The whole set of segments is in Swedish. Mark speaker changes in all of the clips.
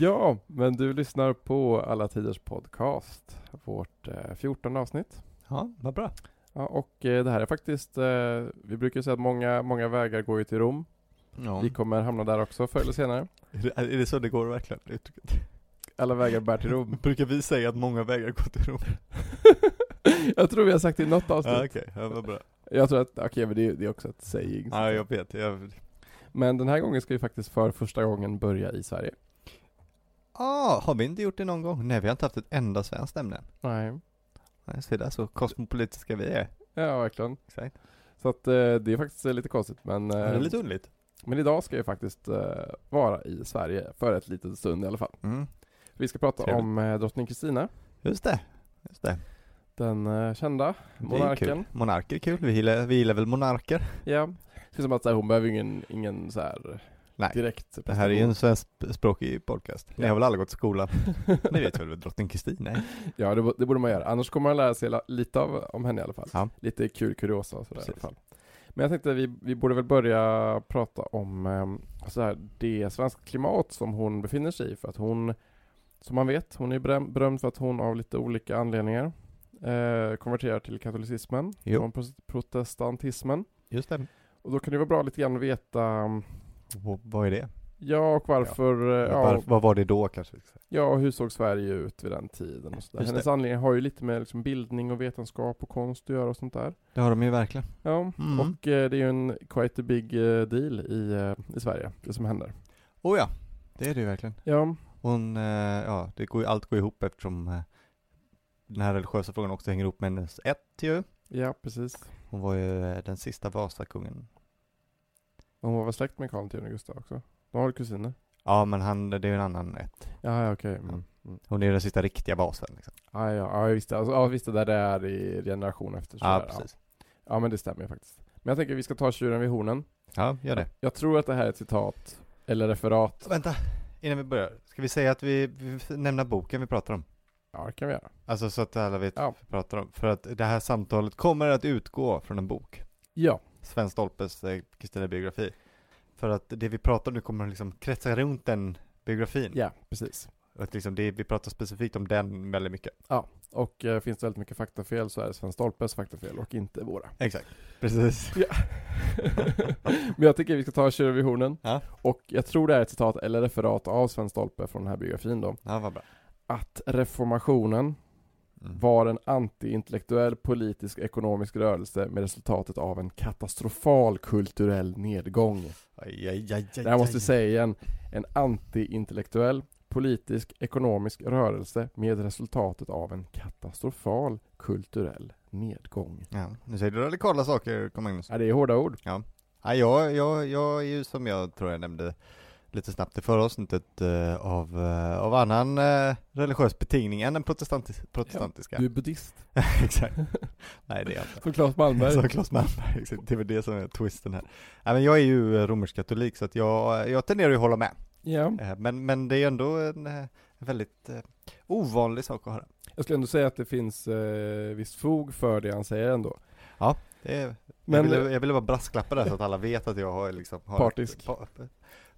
Speaker 1: Ja, men du lyssnar på Alla Tiders Podcast, vårt eh, 14 avsnitt.
Speaker 2: Ja, vad bra.
Speaker 1: Ja, och eh, det här är faktiskt, eh, vi brukar ju säga att många, många vägar går ju till Rom.
Speaker 2: Ja.
Speaker 1: Vi kommer hamna där också förr eller senare.
Speaker 2: Är, det, är det så det går verkligen? Jag tycker att-
Speaker 1: Alla vägar bär till Rom.
Speaker 2: Brukar vi säga att många vägar går till Rom?
Speaker 1: jag tror vi har sagt det i något avsnitt.
Speaker 2: Ja, okej, ja, vad bra.
Speaker 1: Jag tror att, okej men det, är- det är också ett saying.
Speaker 2: Ja, jag vet. Jag...
Speaker 1: Men den här gången ska vi faktiskt för första gången börja i Sverige.
Speaker 2: Ah, har vi inte gjort det någon gång? Nej, vi har inte haft ett enda svenskt ämne.
Speaker 1: Nej.
Speaker 2: Nej, se där så kosmopolitiska vi är.
Speaker 1: Ja, verkligen.
Speaker 2: Exakt.
Speaker 1: Så att eh, det är faktiskt eh, lite konstigt men,
Speaker 2: Det
Speaker 1: eh,
Speaker 2: är lite underligt.
Speaker 1: men idag ska vi faktiskt eh, vara i Sverige för ett litet stund i alla fall.
Speaker 2: Mm.
Speaker 1: Vi ska prata
Speaker 2: Trevligt.
Speaker 1: om eh, drottning Kristina,
Speaker 2: Just det. Just det.
Speaker 1: den eh, kända
Speaker 2: Det är
Speaker 1: monarken.
Speaker 2: kul. Monarker är kul. Vi gillar, vi gillar väl monarker.
Speaker 1: Ja. Det känns som att så här, hon behöver ju ingen, ingen så här eh,
Speaker 2: Nej.
Speaker 1: direkt
Speaker 2: Det här är ju
Speaker 1: prestation.
Speaker 2: en svenskspråkig podcast. Ni
Speaker 1: Ja.
Speaker 2: har väl alla gått i skolan? Ni vet väl vad drottning Kristina är?
Speaker 1: Ja, det, bo- det borde man göra. Annars kommer man lära sig la- lite av, om henne i alla fall.
Speaker 2: Ja.
Speaker 1: Lite kul kuriosa och sådär i alla
Speaker 2: Precis.
Speaker 1: fall. Men jag tänkte vi, vi borde väl börja prata om eh, så här, det svenska klimat som hon befinner sig i. För att hon, som man vet, hon är beröm- berömd för att hon av lite olika anledningar eh, konverterar till katolicismen
Speaker 2: Jo.
Speaker 1: från pros- protestantismen.
Speaker 2: Just det.
Speaker 1: Och då kan det vara bra lite grann att veta mm,
Speaker 2: Och vad är det?
Speaker 1: ja och varför, eh, ja,
Speaker 2: Var, vad var det då kanske?
Speaker 1: ja och hur såg Sverige ut vid den tiden och sådär.
Speaker 2: Just det.
Speaker 1: Hennes anledningar har ju lite med liksom, bildning och vetenskap och konst att göra och sånt där.
Speaker 2: Det har de ju verkligen.
Speaker 1: Ja,
Speaker 2: Mm.
Speaker 1: och eh, det är ju en quite a big eh, deal i, eh, i Sverige, det som händer.
Speaker 2: Oh ja, det är det ju verkligen.
Speaker 1: Ja,
Speaker 2: Hon, eh, ja, det går, ju- allt går ihop eftersom eh, den här religiösa frågan också hänger ihop med hennes ett ju.
Speaker 1: ja precis.
Speaker 2: Hon var ju eh, den sista Vasakungen.
Speaker 1: Hon var väl släkt med Karl X Gustav också? De har väl kusiner?
Speaker 2: Ja, men han, det är ju en annan ett.
Speaker 1: Ja, ja okej. Mm. Mm.
Speaker 2: Hon är ju den sista riktiga vasen. Liksom.
Speaker 1: Ja, ja, ja, visst det. Alltså, ja, visst det där det är i generation efter. så
Speaker 2: Ja,
Speaker 1: där,
Speaker 2: precis.
Speaker 1: Ja. ja, men det stämmer ju faktiskt. Men jag tänker vi ska ta tjuren vid hornen.
Speaker 2: Ja, gör det.
Speaker 1: Jag tror att det här är ett citat, eller referat.
Speaker 2: Vänta, innan vi börjar. Ska vi säga att vi, vi nämner boken vi pratar om?
Speaker 1: Ja, det kan vi göra.
Speaker 2: Alltså så att alla vet
Speaker 1: Ja.
Speaker 2: vad vi pratar om. För att det här samtalet kommer att utgå från en bok.
Speaker 1: Ja,
Speaker 2: Sven Stolpes eh, Kristina biografi. För att det vi pratar om nu kommer liksom kretsa runt den biografin.
Speaker 1: ja precis.
Speaker 2: Och Att liksom det, vi pratar specifikt om den väldigt mycket.
Speaker 1: Och eh, finns det väldigt mycket faktafel så är det Sven Stolpes faktafel och inte våra.
Speaker 2: Exakt. Precis.
Speaker 1: Men jag tycker vi ska ta tjuren vid hornen.
Speaker 2: Ja.
Speaker 1: Och jag tror det är ett citat eller referat av Sven Stolpe från den här biografin då.
Speaker 2: Ja, vad bra. Mm.
Speaker 1: Att reformationen var en antiintellektuell politisk ekonomisk rörelse med resultatet av en katastrofal kulturell nedgång.
Speaker 2: Aj, aj, aj, aj,
Speaker 1: Det här måste
Speaker 2: aj.
Speaker 1: jag säga igen. En antiintellektuell politisk ekonomisk rörelse med resultatet av en katastrofal kulturell nedgång.
Speaker 2: Ja, nu säger du radikala saker, kom Magnus.
Speaker 1: Ja, det är hårda ord.
Speaker 2: Ja, jag, jag, jag är ju som jag tror jag nämnde lite snabbt i förra avsnittet eh, av, eh, av annan eh, religiös betingning än den protestantis- protestantiska.
Speaker 1: Du är buddhist.
Speaker 2: Exakt. Nej, det är jag inte.
Speaker 1: Som Claes Malmberg.
Speaker 2: Som Claes Malmberg, exakt. det är väl det som är twisten här. Nej, men jag är ju eh, romersk-katolik så att jag, eh, jag tenderar ju att hålla med.
Speaker 1: Ja.
Speaker 2: Eh, Men, men det är ändå en eh, väldigt eh, ovanlig sak att höra.
Speaker 1: Jag skulle ändå säga att det finns eh, visst fog för det han säger ändå.
Speaker 2: Det är,
Speaker 1: Men, eh,
Speaker 2: jag, ville, jag ville bara brasklappa där så att alla vet att jag har liksom har
Speaker 1: Partisk.
Speaker 2: ett pa-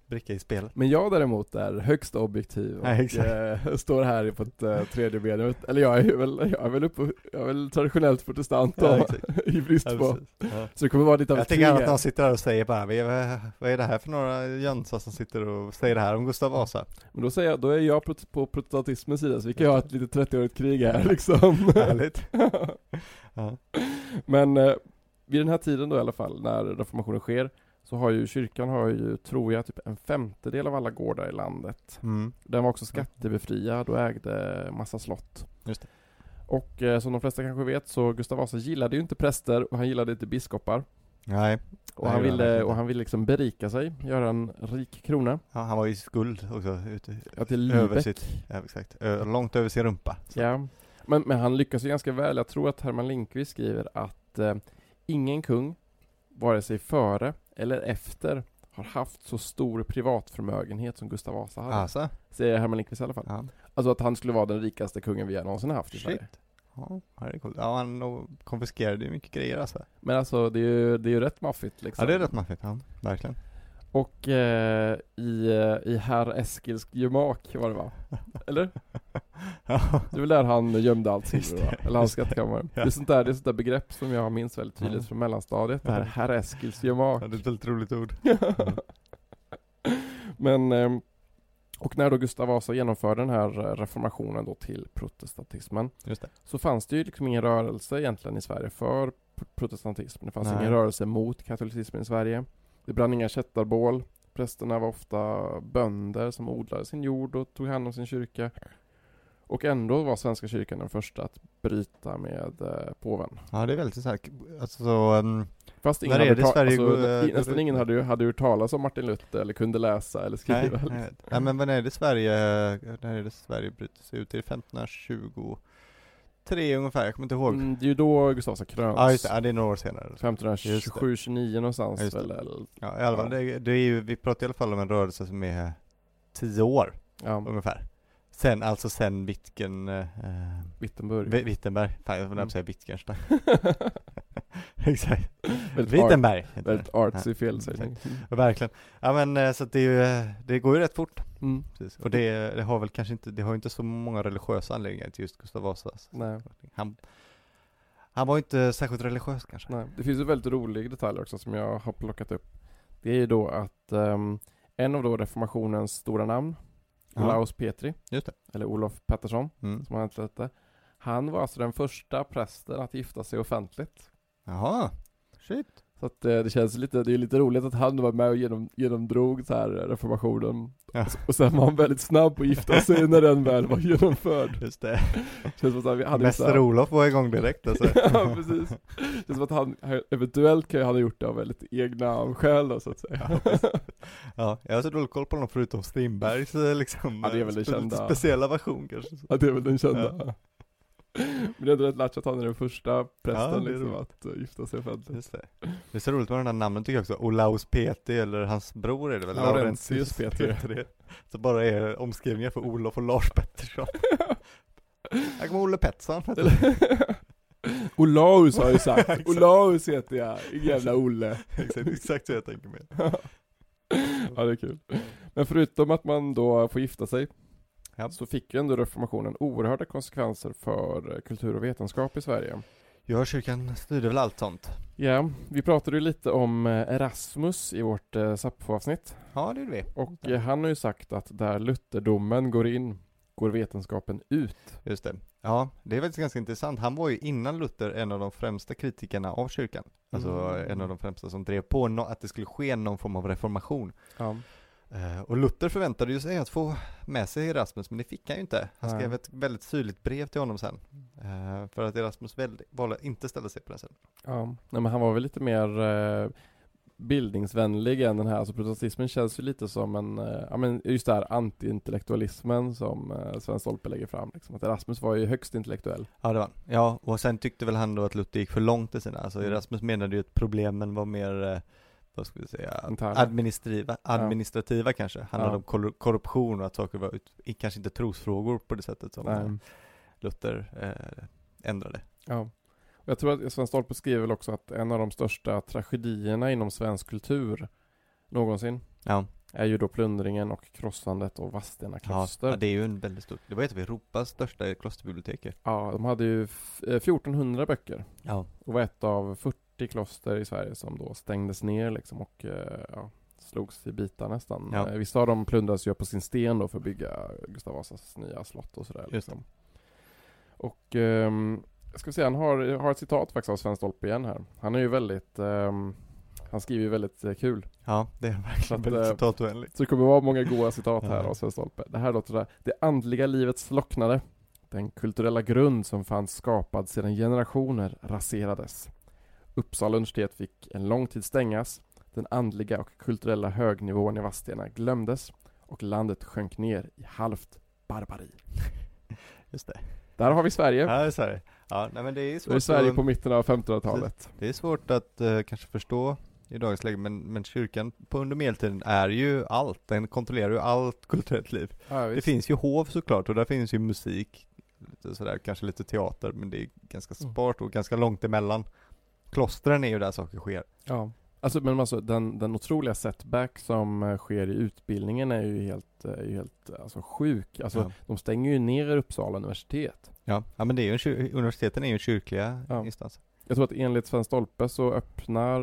Speaker 2: bricka i spelet.
Speaker 1: men jag däremot är högst objektiv och
Speaker 2: Ja, exakt.
Speaker 1: eh, står här på ett eh, tredje ben. Jag vet- Eller jag är väl, jag är väl, uppe, jag är väl traditionellt protestant
Speaker 2: Ja,
Speaker 1: då,
Speaker 2: exakt.
Speaker 1: i brist
Speaker 2: Ja,
Speaker 1: på.
Speaker 2: precis. Ja.
Speaker 1: Så det kommer vara lite av
Speaker 2: Jag
Speaker 1: ett
Speaker 2: tänker
Speaker 1: krig
Speaker 2: att
Speaker 1: här.
Speaker 2: någon sitter där och säger bara, "Vi- vad- vad är det här för några jönsar som sitter och säger det här om Gustav Vasa?
Speaker 1: Men då, säger jag, då är jag prot- på protestantismens sida så vi kan ju ha ett litet 30-årigt krig här liksom.
Speaker 2: Härligt. Ja.
Speaker 1: Men eh, vid den här tiden då i alla fall, när reformationen sker, så har ju kyrkan, har ju, tror jag, typ en femtedel av alla gårdar i landet.
Speaker 2: Mm.
Speaker 1: Den var också skattebefriad och ägde massa slott.
Speaker 2: Just det.
Speaker 1: Och eh, som de flesta kanske vet så Gustav Vasa gillade ju inte präster och han gillade inte biskopar.
Speaker 2: Nej,
Speaker 1: Och, han,
Speaker 2: Nej, det gjorde han
Speaker 1: ville,
Speaker 2: verkligen
Speaker 1: och han ville liksom berika sig, göra en rik krona.
Speaker 2: ja, han var ju i skuld också. Ute,
Speaker 1: Ja, till
Speaker 2: över
Speaker 1: Lübeck.
Speaker 2: sitt, ja, exakt. Ö, långt över sin rumpa. Så.
Speaker 1: Ja. Men, men han lyckas ju ganska väl. Jag tror att Herman Lindqvist skriver att eh, ingen kung, vare sig före eller efter, har haft så stor privatförmögenhet som Gustav Vasa hade.
Speaker 2: Alltså,
Speaker 1: Säger Herman Lindqvist i alla fall.
Speaker 2: ja.
Speaker 1: Alltså att han skulle vara den rikaste kungen vi någonsin haft i
Speaker 2: Shit.
Speaker 1: Sverige.
Speaker 2: Ja, det är coolt. Ja, han nog konfiskerade ju mycket grejer alltså.
Speaker 1: Men alltså det är ju, det är ju rätt maffigt liksom.
Speaker 2: Ja, det är rätt maffigt. Ja, verkligen.
Speaker 1: Och eh, i, eh, i herr Eskils gemak var det va? Eller?
Speaker 2: Ja.
Speaker 1: Det är väl där han gömde allt
Speaker 2: Just
Speaker 1: silver va?
Speaker 2: det,
Speaker 1: Eller hans
Speaker 2: just det.
Speaker 1: skattkammare.
Speaker 2: Ja.
Speaker 1: Det, är sånt där, det är sånt där begrepp som jag minns väldigt tydligt
Speaker 2: Ja.
Speaker 1: från mellanstadiet. Det här
Speaker 2: Ja. Mm.
Speaker 1: herr Eskils gemak.
Speaker 2: Ja, det är ett väldigt roligt ord.
Speaker 1: Men, ehm, och när då Gustav Vasa genomförde den här eh, reformationen då till protestantismen
Speaker 2: Just det.
Speaker 1: så fanns det ju liksom ingen rörelse egentligen i Sverige för p- protestantismen. Det fanns
Speaker 2: Nej.
Speaker 1: ingen rörelse mot katolicismen i Sverige. Det brann inga kättarbål. Prästerna var ofta bönder som odlade sin jord och tog hand om sin kyrka. Och ändå var Svenska kyrkan den första att bryta med eh, påven.
Speaker 2: Ja, det är väldigt så här, alltså så, ehm,
Speaker 1: Fast ingen
Speaker 2: När är
Speaker 1: hade
Speaker 2: det
Speaker 1: ta-
Speaker 2: Sverige
Speaker 1: alltså,
Speaker 2: går- eh,
Speaker 1: nä-
Speaker 2: går
Speaker 1: nästan
Speaker 2: ut
Speaker 1: ingen
Speaker 2: med?
Speaker 1: hade ju hade hört talas om Martin Luther eller kunde läsa eller
Speaker 2: nej,
Speaker 1: skriva.
Speaker 2: nej, nej, men när är det Sverige, när är det Sverige bryter sig ut? Det är 1523 ungefär, jag kommer inte ihåg.
Speaker 1: Mm, det är ju då Gustav Vasa kröns.
Speaker 2: Ja, just det, ja, det är några år senare.
Speaker 1: 1527-29
Speaker 2: Ja,
Speaker 1: någonstans
Speaker 2: just det.
Speaker 1: väl? eller-
Speaker 2: Ja, i alla fall, det, det är ju, vi pratar i alla fall om en rörelse som är tio år
Speaker 1: Ja,
Speaker 2: ungefär. Sen, alltså sen Wittgen, eh,
Speaker 1: Wittenberg.
Speaker 2: Wi- Wittenberg, fan jag får nästan säga Wittgenstein. Exakt.
Speaker 1: Väldigt art-
Speaker 2: Wittenberg. heter det.
Speaker 1: Väldigt artsy felsägning.
Speaker 2: Ja, Verkligen. Ja men eh, så att det, är ju, eh, det går ju rätt fort.
Speaker 1: Mm.
Speaker 2: Precis. Och det, det har väl kanske inte, det har ju inte så många religiösa anledningar till just Gustav Vasas.
Speaker 1: Nej,
Speaker 2: Han, han var ju inte särskilt religiös kanske.
Speaker 1: nej. Det finns en väldigt rolig detalj också som jag har plockat upp. Det är ju då att ehm, en av då reformationens stora namn,
Speaker 2: Ja.
Speaker 1: Olaus Petri,
Speaker 2: Just det.
Speaker 1: eller Olof Pettersson
Speaker 2: Mm.
Speaker 1: som han egentligen hette, han var alltså den första prästen att gifta sig offentligt.
Speaker 2: Jaha. Shit.
Speaker 1: Så att eh, det känns lite, det är ju lite roligt att han var med och genom, genomdrog så här eh, reformationen.
Speaker 2: Ja.
Speaker 1: Och sen var han väldigt snabb på att gifta sig när den väl var genomförd.
Speaker 2: Just det.
Speaker 1: Känns som att han hade så
Speaker 2: Mäster
Speaker 1: här-
Speaker 2: Olof var igång direkt alltså.
Speaker 1: ja, precis. Det är som att han, han- eventuellt kan ju han ha gjort det av väldigt egna skäl då, så att säga.
Speaker 2: Ja, visst. ja, jag har så dålig koll på honom förutom Strindbergs eh, liksom,
Speaker 1: Ja, det är väl
Speaker 2: eh,
Speaker 1: det kända.
Speaker 2: speciella version kanske.
Speaker 1: Ja, det är väl den kända. Men det är ändå rätt lärt att han är den första
Speaker 2: Ja,
Speaker 1: prästen
Speaker 2: det är
Speaker 1: liksom,
Speaker 2: roligt.
Speaker 1: att eh, gifta sig offentligt.
Speaker 2: Just det. det är så roligt med den här namnen tycker jag också, Olaus Peti eller hans bror är det väl?
Speaker 1: Laurentius Petri.
Speaker 2: Så bara är omskrivningar för Olof och Lars Pettersson. Här kommer Olle Pettersson.
Speaker 1: Olaus har jag ju sagt.
Speaker 2: Exakt.
Speaker 1: Olaus heter jag. Ingen jävla Olle.
Speaker 2: exakt, exakt så jag tänker mig.
Speaker 1: ja, det är kul. Men förutom att man då får gifta sig
Speaker 2: Ja.
Speaker 1: så fick ju ändå reformationen oerhörda konsekvenser för eh, kultur och vetenskap i Sverige.
Speaker 2: Ja, kyrkan styrde väl allt sånt?
Speaker 1: Ja, vi pratade ju lite om eh, Erasmus i vårt eh, Sappho-avsnitt.
Speaker 2: Ja, det gjorde vi.
Speaker 1: Och eh, han har ju sagt att där lutherdomen går in, går vetenskapen ut.
Speaker 2: Just det. Ja, det är faktiskt ganska intressant. Han var ju innan Luther en av de främsta kritikerna av kyrkan. Alltså
Speaker 1: Mm.
Speaker 2: en av de främsta som drev på nå- att det skulle ske någon form av reformation.
Speaker 1: Ja.
Speaker 2: Eh, Och Luther förväntade ju sig att få med sig Erasmus, men det fick han ju inte. Han
Speaker 1: Nej.
Speaker 2: skrev ett väldigt syrligt brev till honom sen. eh, För att Erasmus väl- valde att inte ställa sig på den sidan.
Speaker 1: ja. Nej, men han var väl lite mer eh, bildningsvänlig än den här. Alltså protestantismen känns ju lite som en, eh, ja men just det här antiintellektualismen som eh, Sven Stolpe lägger fram. Liksom. Att Erasmus var ju högst intellektuell.
Speaker 2: Ja, det var han. Ja, och sen tyckte väl han då att Luther gick för långt i sina, alltså
Speaker 1: Mm.
Speaker 2: Erasmus menade ju att problemen var mer, eh, vad ska vi säga,
Speaker 1: Interna.
Speaker 2: administrativa, administrativa kanske. Handlade
Speaker 1: Ja.
Speaker 2: om kor- korruption och att saker var, ut, i- kanske inte trosfrågor på det sättet som eh,
Speaker 1: Nej.
Speaker 2: Luther eh, ändrade.
Speaker 1: Ja. Och jag tror att Sven Stolpe skriver väl också att en av de största tragedierna inom svensk kultur någonsin
Speaker 2: Ja,
Speaker 1: är ju då plundringen och krossandet av Vadstena
Speaker 2: ja,
Speaker 1: kloster.
Speaker 2: ja,
Speaker 1: Ja,
Speaker 2: det är ju en väldigt stor, det var ett av Europas största klosterbibliotek ju.
Speaker 1: de hade ju f- eh, 1400 böcker
Speaker 2: Ja.
Speaker 1: och var ett av 40 kloster i Sverige som då stängdes ner liksom och eh, ja, slogs i bitar nästan.
Speaker 2: Ja.
Speaker 1: Eh, Vissa av dem plundrades ju upp på sin sten då för att bygga Gustav Vasas nya slott och sådär.
Speaker 2: Just det.
Speaker 1: Liksom. Och ehm, jag ska se, han har, jag har ett citat faktiskt av Sven Stolpe igen här. Han är ju väldigt, ehm, han skriver ju väldigt eh, kul.
Speaker 2: Ja, det är
Speaker 1: Så att,
Speaker 2: verkligen
Speaker 1: eh,
Speaker 2: väldigt citatoenligt.
Speaker 1: Så det kommer vara många goda citat här
Speaker 2: Ja.
Speaker 1: av Sven Stolpe. Det här låter sådär. Det andliga livet slocknade. Den kulturella grund som fanns skapad sedan generationer raserades. Uppsala universitet fick en lång tid stängas. Den andliga och kulturella högnivån i Vadstena glömdes och landet sjönk ner i halvt barbari.
Speaker 2: Just det.
Speaker 1: Där har vi Sverige.
Speaker 2: Ja, det är Sverige. Ja, nej, men det är
Speaker 1: Då är
Speaker 2: svårt,
Speaker 1: Sverige
Speaker 2: att,
Speaker 1: på mitten av 1500-talet.
Speaker 2: det är svårt att eh, kanske förstå i dagens läge, men, men kyrkan på under medeltiden är ju allt. Den kontrollerar ju allt kulturellt liv. Det finns ju hov såklart och där finns ju musik, lite sådär, kanske lite teater, men det är ganska
Speaker 1: Mm.
Speaker 2: spart och ganska långt emellan. Klostren är ju där saker sker.
Speaker 1: Ja. Alltså, men alltså, den, den otroliga setback som eh, sker i utbildningen är ju helt, eh, är ju helt alltså, sjuk. Alltså,
Speaker 2: Ja.
Speaker 1: De stänger ju ner Uppsala universitet.
Speaker 2: Ja, ja men det är ju en kyr- universiteten är ju kyrkliga
Speaker 1: Ja.
Speaker 2: instanser.
Speaker 1: Jag tror att enligt Sven Stolpe så öppnar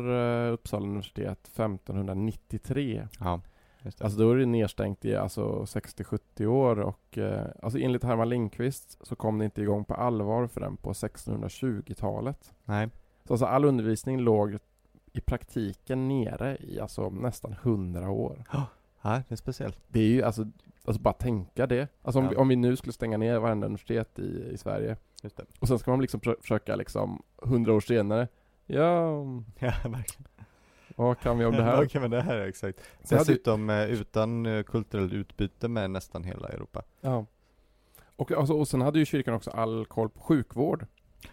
Speaker 1: eh, Uppsala universitet 1593.
Speaker 2: Ja, just det.
Speaker 1: Alltså då är det nedstängt i alltså 60-70 år och eh, alltså enligt Herman Lindqvist så kom det inte igång på allvar förrän på 1620-talet.
Speaker 2: Nej,
Speaker 1: Så alltså all undervisning låg i praktiken nere i alltså nästan 100 år.
Speaker 2: ja, det är speciellt.
Speaker 1: Det är ju alltså, alltså bara tänka det. Alltså om,
Speaker 2: Ja.
Speaker 1: vi, om vi nu skulle stänga ner varenda universitet i, i Sverige
Speaker 2: Just det.
Speaker 1: och sen ska man liksom pr- försöka liksom 100 år senare Ja,
Speaker 2: Ja, verkligen.
Speaker 1: vad kan vi om det här?
Speaker 2: Vad kan man det här är exakt.
Speaker 1: Så hade-
Speaker 2: Dessutom eh, utan eh, kulturellt utbyte med nästan hela Europa.
Speaker 1: Ja. Och, alltså, och sen hade ju kyrkan också all koll på sjukvård.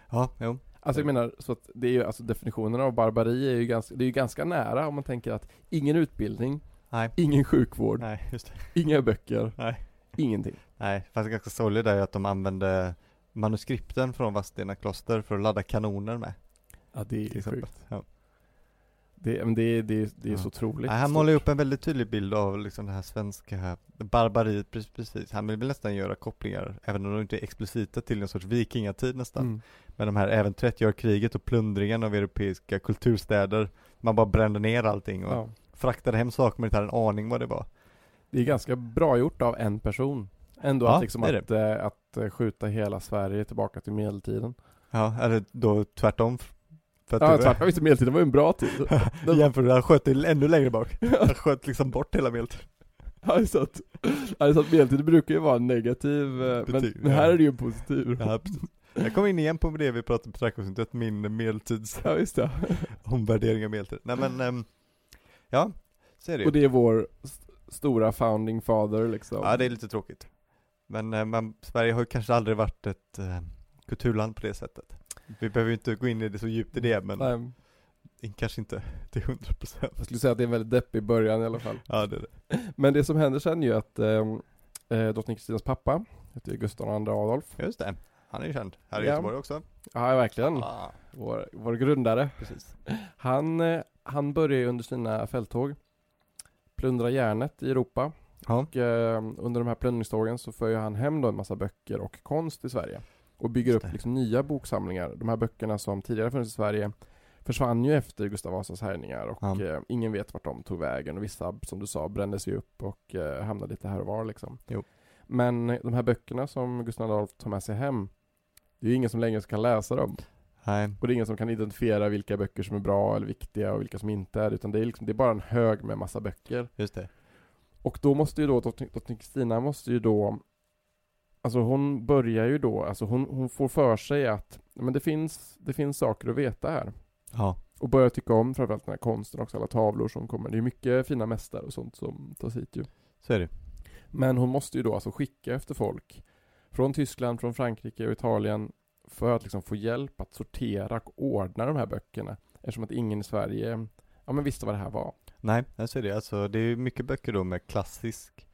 Speaker 2: Ja, jo.
Speaker 1: Alltså jag menar, så att det är ju, alltså definitionen av barbari är ju ganska, det är ju ganska nära om man tänker att ingen utbildning,
Speaker 2: Nej.
Speaker 1: ingen sjukvård,
Speaker 2: Nej, just det.
Speaker 1: inga böcker,
Speaker 2: Nej.
Speaker 1: ingenting.
Speaker 2: Nej, det fanns ganska sorgligt där ju att de använde manuskripten från Vadstena kloster för att ladda kanoner med.
Speaker 1: Ja, det
Speaker 2: Till
Speaker 1: är
Speaker 2: exempel.
Speaker 1: sjukt.
Speaker 2: Ja.
Speaker 1: Det, men det, det, det är
Speaker 2: liksom- Ja.
Speaker 1: så otroligt.
Speaker 2: Nej, han
Speaker 1: stort.
Speaker 2: målar ju upp en väldigt tydlig bild av liksom det här svenska barbariet, precis, precis. Han vill väl nästan göra kopplingar, även om de inte är explicita, till en sorts vikingatid nästan.
Speaker 1: Mm.
Speaker 2: Men de här även 30 kriget och plundringen av europeiska kulturstäder, man bara brände ner allting och
Speaker 1: Ja.
Speaker 2: fraktade hem saker man inte hade en aning vad det var.
Speaker 1: Det är ganska bra gjort av en person. Ändå
Speaker 2: Ja,
Speaker 1: att, liksom
Speaker 2: det är
Speaker 1: att, eh, att eh, skjuta hela Sverige tillbaka till medeltiden.
Speaker 2: Ja, eller då tvärtom. För att
Speaker 1: Ja,
Speaker 2: du-
Speaker 1: tvärtom. Just det, medeltiden var ju en bra tid.
Speaker 2: Jämfört med, han sköt till ännu längre bak. Han sköt liksom bort hela medeltiden.
Speaker 1: Ja, så att, ja, så att medeltid brukar ju vara en negativ, eh,
Speaker 2: Betyg,
Speaker 1: men
Speaker 2: ja.
Speaker 1: här är det ju en positiv. Ja,
Speaker 2: Ja, precis. Jag kom in igen på det vi pratade på traktorsynet, min medeltids
Speaker 1: visst ja.
Speaker 2: omvärdering av medeltid. Nej men, ehm, ja, så är det ju.
Speaker 1: Och det är vår st- stora founding father liksom.
Speaker 2: Ja, det är lite tråkigt. Men eh, man, Sverige har ju kanske aldrig varit ett eh, kulturland på det sättet. Vi behöver ju inte gå in i det så djupt i det, men
Speaker 1: Nej,
Speaker 2: in- kanske inte till 100 procent.
Speaker 1: jag skulle säga att det är en väldigt deppig början i alla fall.
Speaker 2: Ja, det är det.
Speaker 1: Men det som händer sen är ju att ehm, eh, drottning Kristinas pappa, heter ju Gustav II Adolf.
Speaker 2: Just det. Han är ju känd. Här i
Speaker 1: Ja. Mm.
Speaker 2: Göteborg också.
Speaker 1: Ja, verkligen.
Speaker 2: Ah,
Speaker 1: Vår, vår grundare.
Speaker 2: precis.
Speaker 1: Han, eh, han börjar ju under sina fälttåg plundra järnet i Europa.
Speaker 2: Ja.
Speaker 1: Och, eh, under de här plundringstågen så för ju han hem då en massa böcker och konst i Sverige. Och bygger
Speaker 2: Just
Speaker 1: upp
Speaker 2: det.
Speaker 1: liksom nya boksamlingar. De här böckerna som tidigare funnits i Sverige försvann ju efter Gustav Vasas härjningar och
Speaker 2: Ja.
Speaker 1: eh, ingen vet vart de tog vägen. Och vissa, som du sa, brändes ju upp och eh, hamnade lite här och var liksom.
Speaker 2: Jo.
Speaker 1: Men eh, de här böckerna som Gustav Adolf tar med sig hem, det är ju ingen som längre kan läsa dem.
Speaker 2: Nej,
Speaker 1: Och det är ingen som kan identifiera vilka böcker som är bra eller viktiga och vilka som inte är det, utan det är, liksom, det är bara en hög med massa böcker.
Speaker 2: just det.
Speaker 1: Och då måste ju då drottning drottning Kristina måste ju då Alltså hon börjar ju då, alltså hon, hon får för sig att men det finns, det finns saker att veta här.
Speaker 2: Ja,
Speaker 1: Och börjar tycka om framförallt den här konsten också, alla tavlor som kommer. Det är mycket fina mästare och sånt som tas hit ju.
Speaker 2: så är det.
Speaker 1: Men hon måste ju då alltså skicka efter folk från Tyskland, från Frankrike och Italien för att liksom få hjälp att sortera och ordna de här böckerna. Eftersom att ingen i Sverige ja, men visste vad det här var.
Speaker 2: Nej, nej, så är det. Alltså, det är ju mycket böcker då med klassisk,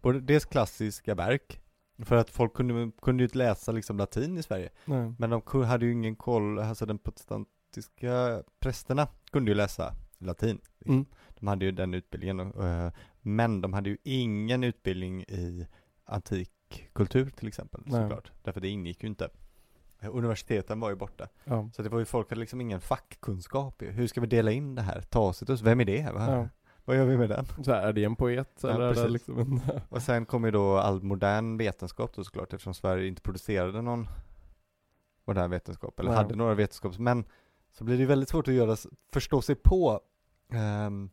Speaker 2: både dels klassiska verk, för att folk kunde, kunde ju inte läsa liksom latin i Sverige.
Speaker 1: Nej.
Speaker 2: Men de ku- hade ju ingen koll, alltså den protestantiska prästerna kunde ju läsa latin. liksom.
Speaker 1: Mm.
Speaker 2: De hade ju den utbildningen, och, eh, men de hade ju ingen utbildning i antikkultur till exempel,
Speaker 1: Nej.
Speaker 2: såklart. Därför det ingick ju inte. Eh, Universiteten var ju borta.
Speaker 1: Ja.
Speaker 2: Så det var ju, folk hade liksom ingen fackkunskap ju. Hur ska vi dela in det här? Tacitus, vem är det? Va?
Speaker 1: Ja.
Speaker 2: Vad gör vi med den?
Speaker 1: Så här, är det en poet
Speaker 2: Ah. Ja,
Speaker 1: eller är det
Speaker 2: precis.
Speaker 1: liksom en...
Speaker 2: Och sen kom ju då all modern vetenskap då såklart eftersom Sverige inte producerade någon modern vetenskap eller
Speaker 1: Nej.
Speaker 2: hade några vetenskapsmän. Så blir det ju väldigt svårt att göra, s- förstå sig på ehm,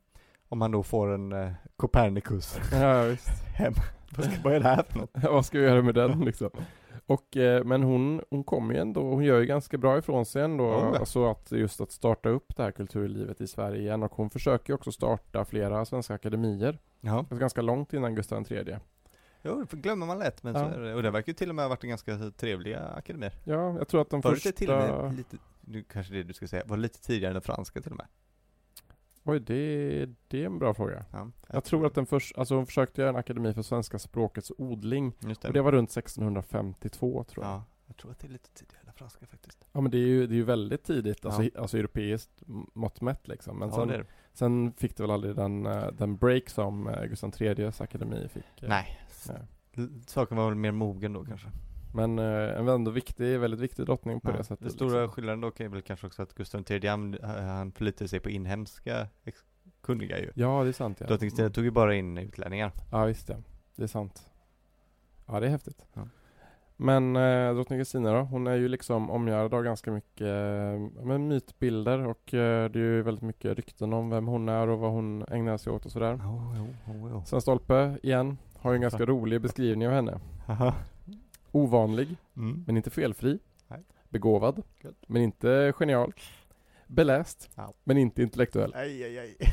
Speaker 2: om man då får en eh, Copernicus
Speaker 1: Ja, visst.
Speaker 2: hem. Vad ska- Vad är det här för något?
Speaker 1: Vad ska vi göra med den liksom? Och, eh, men hon, hon kommer ju ändå, hon gör ju ganska bra ifrån sig ändå.
Speaker 2: Ja, ja.
Speaker 1: alltså att just att starta upp det här kulturlivet i Sverige igen. Och hon försöker ju också starta flera svenska akademier.
Speaker 2: Ja,
Speaker 1: Alltså ganska långt innan Gustav III.
Speaker 2: jo, det glömmer man lätt men
Speaker 1: Ja.
Speaker 2: så är det. Och det verkar ju till och med ha varit en ganska trevliga akademier.
Speaker 1: Ja, jag tror att den
Speaker 2: Förut är
Speaker 1: första...
Speaker 2: till och med lite, nu kanske det du ska säga, var lite tidigare än den franska till och med.
Speaker 1: Oj, det, det är en bra fråga.
Speaker 2: Ja,
Speaker 1: Jag tror att den först, alltså hon försökte göra en akademi för svenska språkets odling.
Speaker 2: Just det.
Speaker 1: Och det var runt 1652 tror jag. Ja,
Speaker 2: ja, jag tror att det är lite tidigare än den franska faktiskt.
Speaker 1: men det är ju, det är ju väldigt tidigt, alltså,
Speaker 2: Ja.
Speaker 1: hi- alltså europeiskt m- mått mätt liksom. Men
Speaker 2: ja,
Speaker 1: sen,
Speaker 2: det är det.
Speaker 1: Sen fick det väl aldrig den, eh, den break som eh, Gustav III's akademi fick. eh.
Speaker 2: Nej. S-
Speaker 1: Nej.
Speaker 2: l- Saken var väl mer mogen då kanske.
Speaker 1: Mm. Men eh, en ändå viktig, väldigt viktig drottning på
Speaker 2: Ja,
Speaker 1: det sättet.
Speaker 2: Den stora
Speaker 1: liksom.
Speaker 2: skillnaden dock är väl kanske också att Gustav III, han, han förlitade sig på inhemska ex- kunniga ju.
Speaker 1: Ja, Mm. det är sant ja.
Speaker 2: Drottning Kristina tog ju bara in utlänningar.
Speaker 1: Ja, visst ja. Det är sant. Ja, det är häftigt.
Speaker 2: Ja.
Speaker 1: Men eh, drottning Kristina då, hon är ju liksom omgärdad av ganska mycket eh, men mytbilder och eh, det är ju väldigt mycket rykten om vem hon är och vad hon ägnar sig åt och sådär. Sven Stolpe, igen, har ju en ganska rolig beskrivning av henne.
Speaker 2: Haha.
Speaker 1: Ovanlig,
Speaker 2: Mm.
Speaker 1: men inte felfri.
Speaker 2: Nej.
Speaker 1: Begåvad,
Speaker 2: Gött.
Speaker 1: men inte genial. Beläst,
Speaker 2: Ja.
Speaker 1: men inte intellektuell.
Speaker 2: Aj, aj, aj.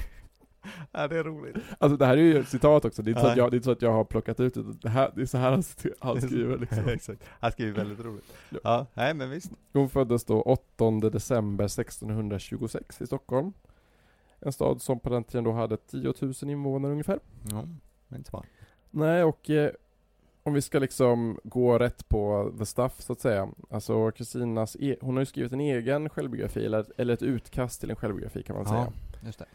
Speaker 2: Ja, det är roligt.
Speaker 1: Alltså det här är ju ett citat också, det är inte, så att,
Speaker 2: Nej.
Speaker 1: jag, det är inte så att jag har plockat ut det. Det, här, det är så här han, st- han skriver liksom.
Speaker 2: Exakt. Han skriver väldigt roligt.
Speaker 1: Ja.
Speaker 2: Ja, nej men visst.
Speaker 1: Hon föddes då 8 december 1626 i Stockholm. En stad som på den tiden då hade 10 000 invånare ungefär.
Speaker 2: Ja, men inte så
Speaker 1: Nej, och eh, om vi ska liksom gå rätt på the stuff så att säga. Alltså Kristinas, e- hon har ju skrivit en egen självbiografi, eller, eller ett utkast till en självbiografi kan man säga.
Speaker 2: just det.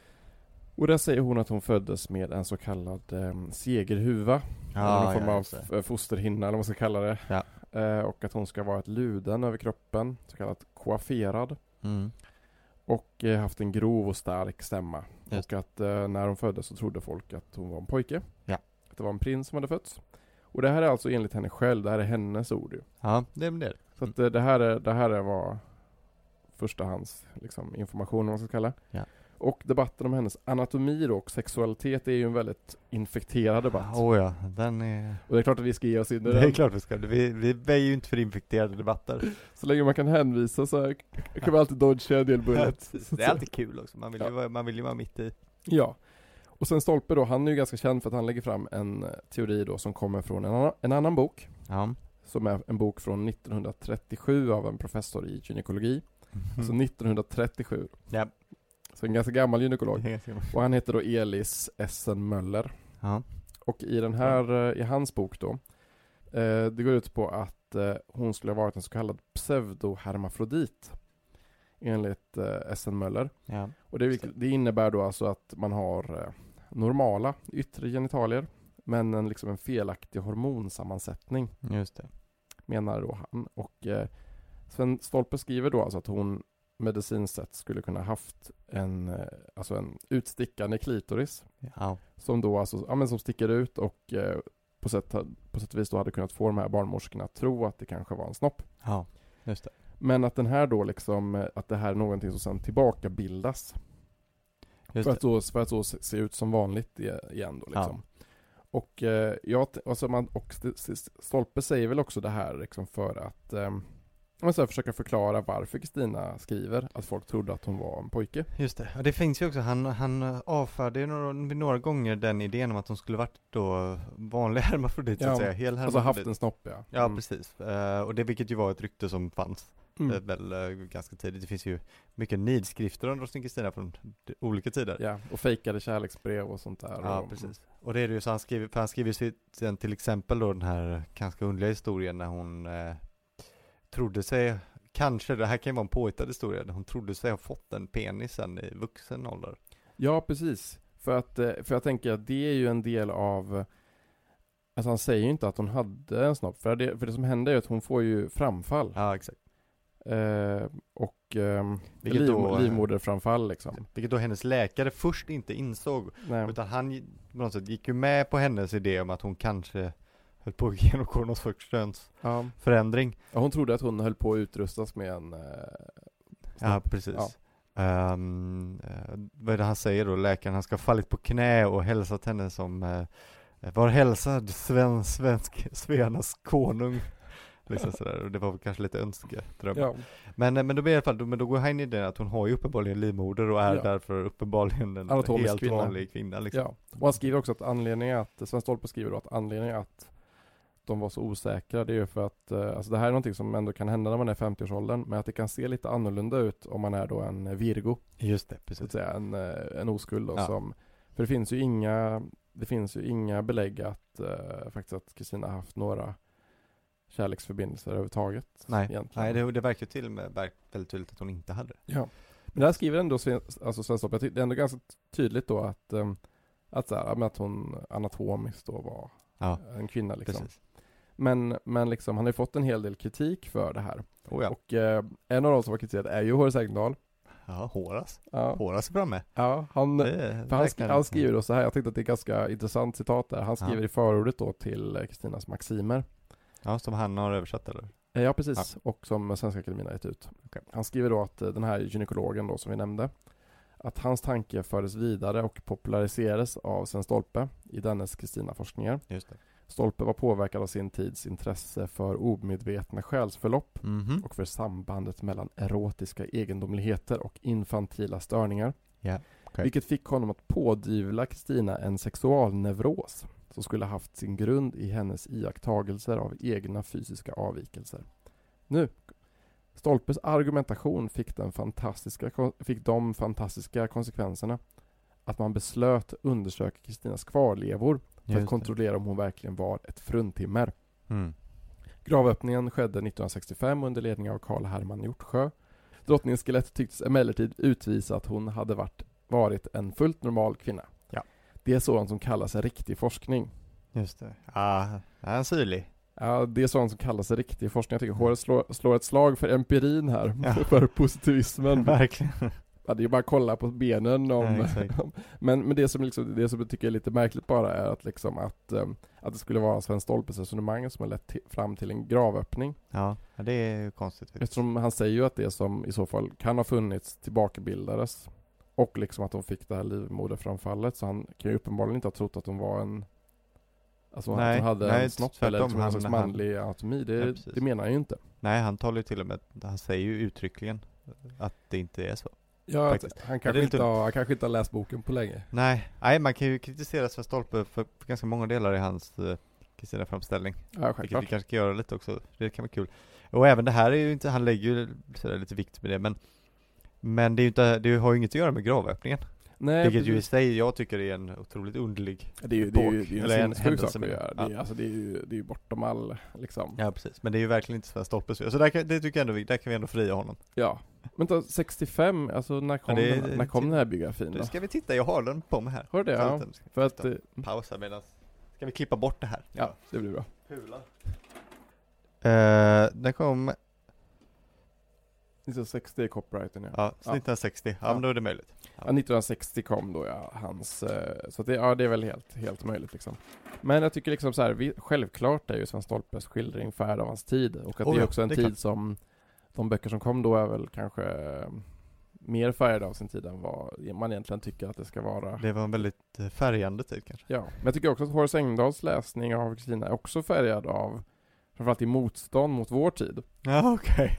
Speaker 1: Och där säger hon att hon föddes med en så kallad eh, segerhuva. eller någon form av
Speaker 2: just det.
Speaker 1: f- fosterhinna eller vad man ska kalla det.
Speaker 2: Ja.
Speaker 1: Eh, och att hon ska vara ett luden över kroppen, så kallat koafferad.
Speaker 2: Mm.
Speaker 1: Och eh, haft en grov och stark stämma.
Speaker 2: Just.
Speaker 1: Och att eh, när hon föddes så trodde folk att hon var en pojke.
Speaker 2: Ja.
Speaker 1: Att det var en prins som hade fötts. Och det här är alltså enligt henne själv, det här är hennes ord ju.
Speaker 2: Ja, det men det är det.
Speaker 1: Så att eh, det här är, det här är vad förstahands liksom, information om man ska kalla det.
Speaker 2: Ja.
Speaker 1: Och debatten om hennes anatomi då, och sexualitet är ju en väldigt infekterad debatt.
Speaker 2: Åh oh, ja, den är...
Speaker 1: Och det är klart att vi ska ge oss in i
Speaker 2: Det är
Speaker 1: den.
Speaker 2: klart vi ska. Vi, vi väjer ju inte för infekterade debatter.
Speaker 1: Så länge man kan hänvisa så här, kan man alltid dodga en del bullet.
Speaker 2: Det är alltid kul också. Man vill,
Speaker 1: Ja.
Speaker 2: ju, vara, man vill ju vara mitt i.
Speaker 1: Ja. Och sen Stolpe då, han är ju ganska känd för att han lägger fram en eh, teori då som kommer från en annan, en annan bok.
Speaker 2: Ja.
Speaker 1: Som är en bok från 1937 av en professor i gynekologi.
Speaker 2: Mm.
Speaker 1: Så 1937.
Speaker 2: Ja.
Speaker 1: Så en ganska gammal gynekolog.
Speaker 2: Ja.
Speaker 1: Och han heter då Elis Essen Möller.
Speaker 2: Ja.
Speaker 1: Och i den här, eh, i hans bok då, eh, det går ut på att eh, hon skulle ha varit en så kallad pseudohermafrodit. Enligt eh, Essen Möller.
Speaker 2: Ja.
Speaker 1: Och det, det innebär då alltså att man har eh, normala yttre genitalier men en, liksom en felaktig hormonsammansättning
Speaker 2: Just det.
Speaker 1: menar då han. Och eh, Sven Stolpe skriver då alltså att hon medicinskt sett skulle kunna haft en, eh, alltså en utstickande klitoris
Speaker 2: Ja.
Speaker 1: som då alltså, ja, men som sticker ut och eh, på sätt, på sätt och vis då hade kunnat få de här barnmorskorna att tro att det kanske var en snopp.
Speaker 2: Ja. Just det.
Speaker 1: Men att den här då liksom, eh, att det här är någonting som sen tillbakabildas
Speaker 2: Just
Speaker 1: För
Speaker 2: det.
Speaker 1: att, då, för att då se se ut som vanligt i- igen då liksom. Och, eh, jag, t- alltså man, och st- st- Stolpe säger väl också det här liksom för att ehm, man så här försöka förklara varför Kristina skriver att folk trodde att hon var en pojke.
Speaker 2: Just det. Ja, det finns ju också, han, han avfärdade ju några, några gånger den idén om att de skulle varit då vanlig hermafrodit, så
Speaker 1: Ja,
Speaker 2: att säga. Hel
Speaker 1: Alltså haft
Speaker 2: hermafrodit.
Speaker 1: en snopp ja.
Speaker 2: Ja,
Speaker 1: Mm.
Speaker 2: precis. Eh, och det vilket ju var ett rykte som fanns eh,
Speaker 1: Mm.
Speaker 2: väl eh, ganska tidigt. Det finns ju mycket nidskrifter om drottning Kristina från d- olika tider.
Speaker 1: Ja, och fejkade kärleksbrev och sånt där.
Speaker 2: Ja,
Speaker 1: och,
Speaker 2: precis. Och det är det ju så han skriver, för han skriver ju sitt- sen till exempel då den här ganska underliga historien när hon eh, trodde sig, kanske, det här kan ju vara en påhittad historia, när hon trodde sig ha fått en penis sen i vuxen ålder.
Speaker 1: Ja, precis. För att, eh, för jag tänker att det är ju en del av Alltså han säger ju inte att hon hade en snopp, för det, för det som händer är ju att hon får ju framfall.
Speaker 2: Ja, exakt.
Speaker 1: Eh, och ehm,
Speaker 2: Vilket
Speaker 1: liv,
Speaker 2: då- eh, Typ.
Speaker 1: livmoderframfall liksom.
Speaker 2: Vilket då hennes läkare först inte insåg,
Speaker 1: Nej.
Speaker 2: utan han gi- på något sätt gick ju med på hennes idé om att hon kanske höll på att genomgå någon sorts könsförändring.
Speaker 1: Ja. Ja, Hon trodde att hon höll på att utrustas med en... Eh,
Speaker 2: Ja,
Speaker 1: snopp.
Speaker 2: precis.
Speaker 1: Ja.
Speaker 2: Ehm, eh, vad är det han säger då, läkaren? Han ska ha fallit på knä och hälsat henne som uh, Var hälsad Sven, svensk, Svenas konung. Liksom sådär, och det var väl kanske lite önskedröm.
Speaker 1: ja.
Speaker 2: Men, eh, men då blir det i alla fall, då, men då går han in i den att hon har ju uppenbarligen livmoder och är
Speaker 1: Ja.
Speaker 2: därför uppenbarligen en
Speaker 1: Anatomisk
Speaker 2: helt
Speaker 1: kvinna.
Speaker 2: vanlig kvinna liksom.
Speaker 1: ja. Och han skriver också att anledningen att, Sven Stolpe skriver då att anledningen att de var så osäkra, det är ju för att, eh, alltså det här är någonting som ändå kan hända när man är 50-årsåldern, men att det kan se lite annorlunda ut om man är då en virgo,
Speaker 2: Just det,
Speaker 1: så att
Speaker 2: precis.
Speaker 1: säga, en, eh, en oskuld då,
Speaker 2: Ja.
Speaker 1: som, för det finns ju inga, det finns ju inga belägg att, eh, faktiskt att Kristina haft några kärleksförbindelser överhuvudtaget
Speaker 2: Nej,
Speaker 1: egentligen.
Speaker 2: Nej det, det verkar ju till och med verk- väldigt tydligt att hon inte hade det.
Speaker 1: Ja. Men där skriver ändå Sven, alltså Svenska jag tycker det är ändå ganska tydligt då att, eh, att, så här, men att hon anatomiskt då var
Speaker 2: Ja,
Speaker 1: en kvinna liksom.
Speaker 2: precis.
Speaker 1: Men, men liksom, han har ju fått en hel del kritik för det här.
Speaker 2: Oh, ja.
Speaker 1: Och eh, en av de som var kritiserad är ju Horace Engdahl.
Speaker 2: ja, Horace.
Speaker 1: Ja,
Speaker 2: Horace är framme.
Speaker 1: ja han,
Speaker 2: Det
Speaker 1: för han, sk-
Speaker 2: verkar-
Speaker 1: han skriver då så här, jag tyckte att det är ganska intressant citat där. Han
Speaker 2: Ja.
Speaker 1: skriver i förordet då till eh, Kristinas Maximer.
Speaker 2: Ja, som han har översatt eller?
Speaker 1: Eh, Ja, precis. Och som Svenska Akademin har gett ut. Han skriver då att eh, den här gynekologen då som vi nämnde, att hans tanke fördes vidare och populariserades av Sven Stolpe i dennes Kristina-forskningar.
Speaker 2: Just det.
Speaker 1: Stolpe var påverkad av sin tids intresse för omedvetna själsförlopp
Speaker 2: Mhm.
Speaker 1: och för sambandet mellan erotiska egendomligheter och infantila störningar.
Speaker 2: Ja, okej.
Speaker 1: Vilket fick honom att pådyvla Kristina en sexualneuros som skulle haft sin grund i hennes iakttagelser av egna fysiska avvikelser. Nu, Stolpes argumentation fick, den fantastiska, kon- fick de fantastiska konsekvenserna att man beslöt undersöka Kristinas kvarlevor för att
Speaker 2: Just
Speaker 1: kontrollera om hon verkligen var ett fruntimmer.
Speaker 2: det. Mm.
Speaker 1: Gravöppningen skedde 1965 under ledning av Karl Herman Hjortsjö. Drottningens skelett tycktes emellertid utvisa att hon hade varit, varit en fullt normal kvinna.
Speaker 2: Ja.
Speaker 1: Det är sådant som kallas riktig forskning.
Speaker 2: Just det. Ja, han är syrlig.
Speaker 1: Ja, det är sådant som kallas riktig forskning. Jag tycker håret slår, slår ett slag för empirin här,
Speaker 2: Ja.
Speaker 1: för positivismen.
Speaker 2: Verkligen.
Speaker 1: Ja, det är ju bara att kolla på benen om...
Speaker 2: Ja, exakt.
Speaker 1: om- men, men det som, liksom, det som jag tycker är lite märkligt bara är att, liksom att, ehm, att det skulle vara Sven Stolpes resonemang som har lett till, fram till en gravöppning.
Speaker 2: Ja, ja, det är ju konstigt faktiskt.
Speaker 1: Eftersom han säger ju att det som i så fall kan ha funnits tillbakabildades och liksom att hon fick det här livmoderframfallet så han kan ju uppenbarligen inte ha trott att hon var en Alltså
Speaker 2: Nej,
Speaker 1: att hon hade
Speaker 2: nej,
Speaker 1: en snopp
Speaker 2: tvärtom.
Speaker 1: eller liksom
Speaker 2: Han-
Speaker 1: någon slags
Speaker 2: han-
Speaker 1: manlig anatomi. Det,
Speaker 2: Ja, precis.
Speaker 1: det menar han ju inte.
Speaker 2: Nej, han talar ju till och med, han säger ju uttryckligen att det inte är så.
Speaker 1: Ja,
Speaker 2: Faktiskt.
Speaker 1: att han,
Speaker 2: Ja,
Speaker 1: kanske
Speaker 2: det är
Speaker 1: inte
Speaker 2: lite-
Speaker 1: har, han kanske inte har läst boken på länge.
Speaker 2: Nej, nej man kan ju kritisera Sven Stolpe för, för ganska många delar i hans eh, Kristina-framställning.
Speaker 1: Ja,
Speaker 2: Vilket
Speaker 1: självklart.
Speaker 2: vi kanske kan göra lite också, det kan vara kul. Och även det här är ju inte, han lägger ju sådär lite vikt med det, men men det, är ju inte, det har ju inget att göra med gravöppningen.
Speaker 1: Nej,
Speaker 2: vilket ju i
Speaker 1: precis.
Speaker 2: sig jag tycker är en otroligt underlig
Speaker 1: det är ju, det är ju, det är ju en
Speaker 2: eller en
Speaker 1: sinnessjuk sak
Speaker 2: händelse
Speaker 1: att
Speaker 2: med-
Speaker 1: göra. Det är, alltså, det är ju det är ju bortom all liksom.
Speaker 2: Ja precis, men det är ju verkligen inte Sven Stolpes fel. Så Alltså, där kan, det tycker jag ändå, vi- där kan vi ändå fria honom.
Speaker 1: Ja. Men då, 65, alltså när kom,
Speaker 2: det är-
Speaker 1: den, när kom den här biografin
Speaker 2: Nu
Speaker 1: då?
Speaker 2: ska vi titta, jag har den på mig här.
Speaker 1: Har du det? Ja,
Speaker 2: Vänta, nu ska
Speaker 1: för
Speaker 2: vi
Speaker 1: att,
Speaker 2: titta.
Speaker 1: eh,
Speaker 2: Pausa medan, ska vi klippa bort det här?
Speaker 1: ja, det blir bra.
Speaker 2: Pular. Eh, den kom,
Speaker 1: 1960 Liksom är copyrighten ja. ja.
Speaker 2: ja, 1960, ja,
Speaker 1: Ja.
Speaker 2: men då är det möjligt.
Speaker 1: 1960 kom då ja, hans, eh, så att det, ja, det är väl helt, helt möjligt liksom. Men jag tycker liksom så här, vi, självklart är ju Sven Stolpes skildring färd av hans tid och att
Speaker 2: Oh
Speaker 1: det är
Speaker 2: ja,
Speaker 1: också en
Speaker 2: det är
Speaker 1: tid
Speaker 2: klart.
Speaker 1: som, de böcker som kom då är väl kanske eh, mer färgade av sin tid än vad man egentligen tycker att det ska vara.
Speaker 2: Det var en väldigt eh, färgande tid kanske.
Speaker 1: Ja, men jag tycker också att Horace Engdahls läsning av Kristina är också färgad av framförallt i motstånd mot vår tid.
Speaker 2: Ja okej,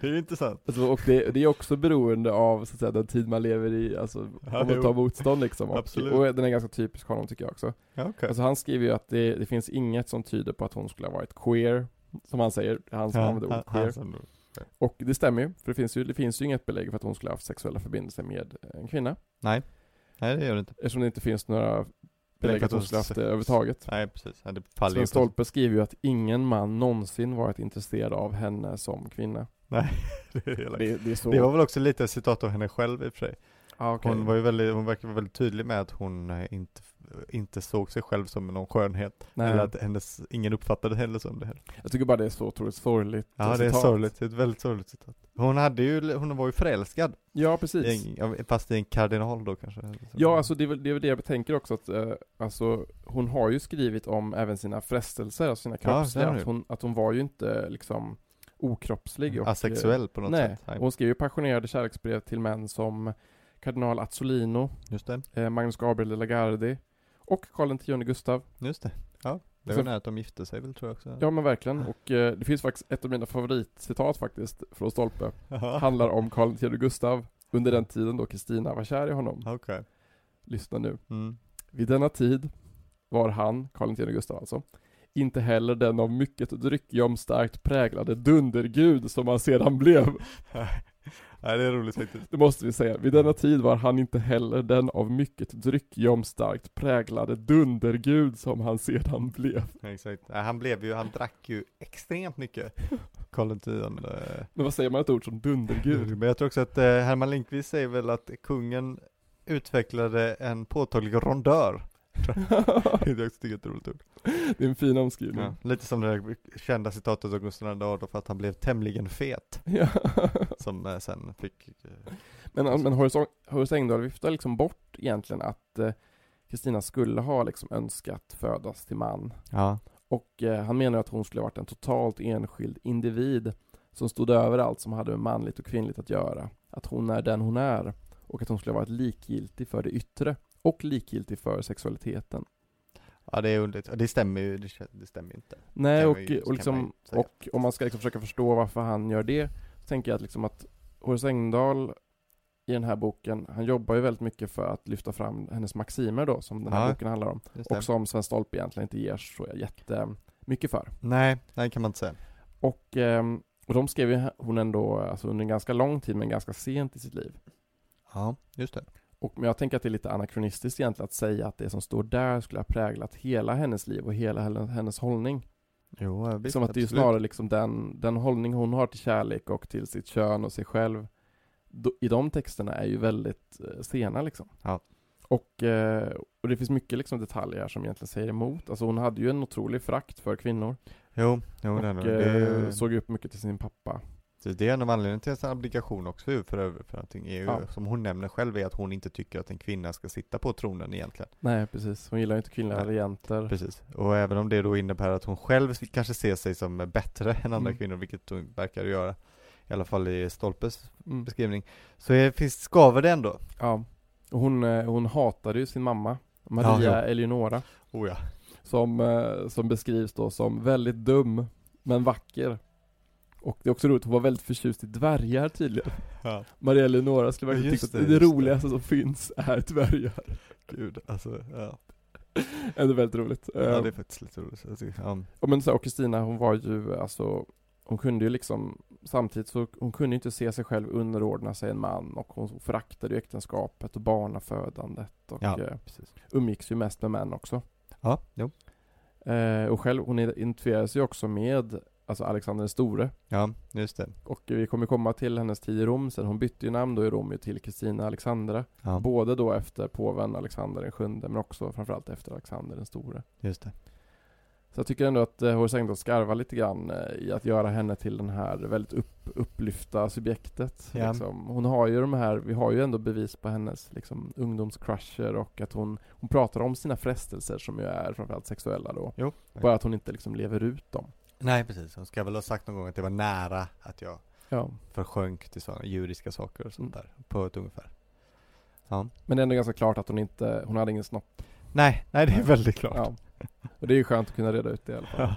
Speaker 2: det är ju intressant.
Speaker 1: Alltså, och det, det är också beroende av så att säga, den tid man lever i, alltså
Speaker 2: Ja,
Speaker 1: om man
Speaker 2: jo.
Speaker 1: tar motstånd liksom. Och,
Speaker 2: Absolut.
Speaker 1: och den är ganska typisk honom tycker jag också.
Speaker 2: Ja, okej.
Speaker 1: Alltså han skriver ju att det, det finns inget som tyder på att hon skulle ha varit queer, som han säger, han som använder ordet queer.
Speaker 2: som-
Speaker 1: Och det stämmer ju, för det finns ju, det finns ju inget belägg för att hon skulle ha haft sexuella förbindelser med en kvinna.
Speaker 2: Nej, nej det gör det inte.
Speaker 1: Eftersom det inte finns några belägg för att hon skulle ha haft det överhuvudtaget.
Speaker 2: Nej precis, ja, det faller ju
Speaker 1: Sven
Speaker 2: på-
Speaker 1: Stolpe skriver ju att ingen man någonsin varit intresserad av henne som kvinna.
Speaker 2: det, är ju elakt.
Speaker 1: Det, det är så...
Speaker 2: det var väl också lite citat av henne själv i och för sig.
Speaker 1: ah, okej.
Speaker 2: Hon var ju väldigt, hon verkar vara väldigt tydlig med att hon eh, inte, inte såg sig själv som någon skönhet.
Speaker 1: Nej.
Speaker 2: Eller att hennes, ingen uppfattade henne som det heller.
Speaker 1: Jag tycker bara det är så otroligt sorgligt
Speaker 2: Ja det är
Speaker 1: citat.
Speaker 2: sorgligt, det är ett väldigt sorgligt citat. Hon hade ju, hon var ju förälskad.
Speaker 1: Ja,
Speaker 2: I
Speaker 1: precis.
Speaker 2: en, ja, fast i en kardinal då kanske.
Speaker 1: Ja, alltså det är, väl, det är väl det jag tänker också att eh, alltså, hon har ju skrivit om även sina frestelser, alltså sina kroppsliga,
Speaker 2: det har hon
Speaker 1: att,
Speaker 2: ju.
Speaker 1: hon, att hon var ju inte liksom okroppslig. Och,
Speaker 2: Asexuell på något
Speaker 1: nej,
Speaker 2: sätt. Nej,
Speaker 1: och hon skrev ju passionerade kärleksbrev till män som kardinal Azzolino,
Speaker 2: just det.
Speaker 1: eh, Magnus Gabriel de Lagardi och Karl X Gustav.
Speaker 2: Just det. Ja, det var
Speaker 1: Så-
Speaker 2: nära att de gifte sig väl tror jag också.
Speaker 1: Ja men verkligen, och eh, det finns faktiskt ett av mina favoritcitat faktiskt från Stolpe.
Speaker 2: Ja.
Speaker 1: Handlar om Karl X Gustav under den tiden då Kristina var kär i honom.
Speaker 2: Okej.
Speaker 1: Lyssna nu.
Speaker 2: Mm.
Speaker 1: Vid denna tid var han, Karl X Gustav alltså, inte heller den av mycket dryckjom starkt präglade dundergud som han sedan blev.
Speaker 2: Nej, det är roligt faktiskt.
Speaker 1: Det måste vi säga. Vid denna tid var han inte heller den av mycket dryckjomstarkt präglade dundergud som han sedan blev.
Speaker 2: Ja, exakt. Nej, han blev ju, han drack ju extremt mycket. Karl X. eh,
Speaker 1: Men vad säger man ett ord som dundergud?
Speaker 2: Men jag tror också att eh, Herman Lindqvist säger väl att kungen utvecklade en påtaglig rondör. Det är också tycker jag är ett roligt ord.
Speaker 1: det är en fin omskrivning.
Speaker 2: Ja. Lite som det där kända citatet av Gustav II Adolf att han blev tämligen fet,
Speaker 1: Ja.
Speaker 2: som eh, sen fick eh,
Speaker 1: men men Horace, Horace Engdahl viftar liksom bort egentligen att eh, Kristina skulle ha liksom önskat födas till man.
Speaker 2: Ja,
Speaker 1: Och eh, han menar att hon skulle ha varit en totalt enskild individ som stod över allt som hade med manligt och kvinnligt att göra. Att hon är den hon är och att hon skulle ha varit likgiltig för det yttre och likgiltig för sexualiteten.
Speaker 2: ja det är underligt, och det stämmer ju, det, kän- det stämmer ju inte.
Speaker 1: Nej,
Speaker 2: Kan
Speaker 1: och,
Speaker 2: man ju-
Speaker 1: och,
Speaker 2: kan man
Speaker 1: liksom,
Speaker 2: ju säga.
Speaker 1: och om man ska liksom försöka förstå varför han gör det, så tänker jag att, liksom att Horace Engdahl i den här boken, han jobbar ju väldigt mycket för att lyfta fram hennes maximer då, som den här
Speaker 2: Ja.
Speaker 1: boken handlar om.
Speaker 2: Just det.
Speaker 1: Och som Sven Stolpe egentligen inte ger så jättemycket för.
Speaker 2: Nej, nej kan man inte säga.
Speaker 1: Och, ehm, och de skrev ju hon ändå alltså under en ganska lång tid, men ganska sent i sitt liv.
Speaker 2: Ja, just det.
Speaker 1: Och, men jag tänker att det är lite anakronistiskt egentligen att säga att det som står där skulle ha präglat hela hennes liv och hela hennes, hennes hållning.
Speaker 2: Jo, ja, visst,
Speaker 1: som att det är ju
Speaker 2: absolut.
Speaker 1: snarare liksom den, den hållning hon har till kärlek och till sitt kön och sig själv do, i de texterna är ju väldigt eh, sena liksom.
Speaker 2: Ja.
Speaker 1: Och, eh, och det finns mycket liksom detaljer här som egentligen säger emot. Alltså hon hade ju en otrolig frakt för kvinnor
Speaker 2: Jo, jo
Speaker 1: och
Speaker 2: det, är nog-
Speaker 1: eh,
Speaker 2: det,
Speaker 1: såg upp mycket till sin pappa.
Speaker 2: det, det är en av anledningarna till sin abdikation också ju, för, övrigt, för någonting är ju,
Speaker 1: Ja.
Speaker 2: som hon nämner själv, är att hon inte tycker att en kvinna ska sitta på tronen egentligen.
Speaker 1: Nej precis, hon gillar ju inte kvinnliga
Speaker 2: Nej.
Speaker 1: regenter.
Speaker 2: Precis. Och även om det då innebär att hon själv kanske ser sig som bättre än andra
Speaker 1: Mm.
Speaker 2: kvinnor, vilket hon verkar göra, i alla fall i Stolpes
Speaker 1: Mm.
Speaker 2: beskrivning, så är, finns, skaver det ändå.
Speaker 1: Ja. Och hon, eh, hon hatade ju sin mamma, Maria
Speaker 2: Ja,
Speaker 1: Eleonora,
Speaker 2: Oh ja.
Speaker 1: som, eh, som beskrivs då som väldigt dum, men vacker. Och det är också roligt, hon var väldigt förtjust i dvärgar tydligen.
Speaker 2: ja.
Speaker 1: Maria Eleonora skulle verkligen
Speaker 2: Just
Speaker 1: tycka att
Speaker 2: det,
Speaker 1: det,
Speaker 2: just det.
Speaker 1: roligaste som finns är dvärgar.
Speaker 2: Gud, alltså, ja.
Speaker 1: Det är väldigt roligt.
Speaker 2: ja.
Speaker 1: Eh,
Speaker 2: Det är faktiskt lite roligt. Alltså, ja.
Speaker 1: Och men så här, och Kristina hon var ju alltså hon kunde ju liksom samtidigt så hon kunde ju inte se sig själv underordna sig en man och hon föraktade ju äktenskapet och barnafödandet och
Speaker 2: Ja.
Speaker 1: eh,
Speaker 2: Precis.
Speaker 1: umgicks ju mest med män också.
Speaker 2: Ja, jo.
Speaker 1: Eh, och själv hon identifierade sig ju också med alltså Alexander den store
Speaker 2: Ja, just det.
Speaker 1: och vi kommer komma till hennes tid i Rom sen. Hon bytte ju namn då i Rom ju till Kristina Alexandra.
Speaker 2: Ja,
Speaker 1: Både då efter påven Alexander den sjunde men också framförallt efter Alexander den store.
Speaker 2: just det.
Speaker 1: Så jag tycker ändå att eh, Horace Engdahl skarvar lite grann eh, i att göra henne till den här väldigt upp, upplyfta subjektet.
Speaker 2: Ja.
Speaker 1: Liksom. Hon har ju de här, vi har ju ändå bevis på hennes liksom, ungdomscrusher och att hon, hon pratar om sina frestelser som ju är framförallt sexuella då.
Speaker 2: Jo.
Speaker 1: Bara att hon inte liksom lever ut dem.
Speaker 2: Nej, precis. Hon ska väl ha sagt någon gång att det var nära att jag
Speaker 1: Ja.
Speaker 2: försjönk till sådana djuriska saker och sånt där, på ett ungefär.
Speaker 1: Men det är ändå ganska klart att hon inte, hon hade ingen snopp.
Speaker 2: Nej, nej det är väldigt klart.
Speaker 1: Ja. Och det är ju skönt att kunna reda ut det i alla fall.
Speaker 2: Ja.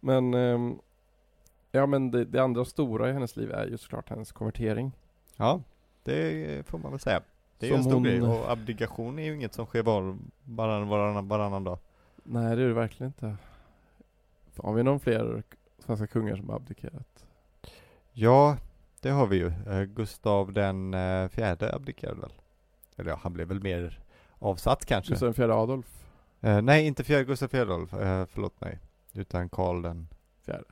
Speaker 1: Men, ehm, ja men det, det andra stora i hennes liv är ju såklart hennes konvertering.
Speaker 2: Ja, det får man väl säga. Det är ju
Speaker 1: Som
Speaker 2: en stor
Speaker 1: hon-
Speaker 2: grej och abdikation är ju inget som sker var, varann, varann, varannan dag.
Speaker 1: Nej det är det verkligen inte. Har vi någon fler svenska kungar som har abdikerat?
Speaker 2: Ja, det har vi ju. Eh, Gustav den eh, fjärde abdikerade väl? Eller ja, han blev väl mer avsatt kanske?
Speaker 1: Gustav IV Adolf?
Speaker 2: Eh, nej, inte fjärde, Gustav fjärde Adolf, eh, förlåt mig. Utan Karl den...
Speaker 1: Fjärde.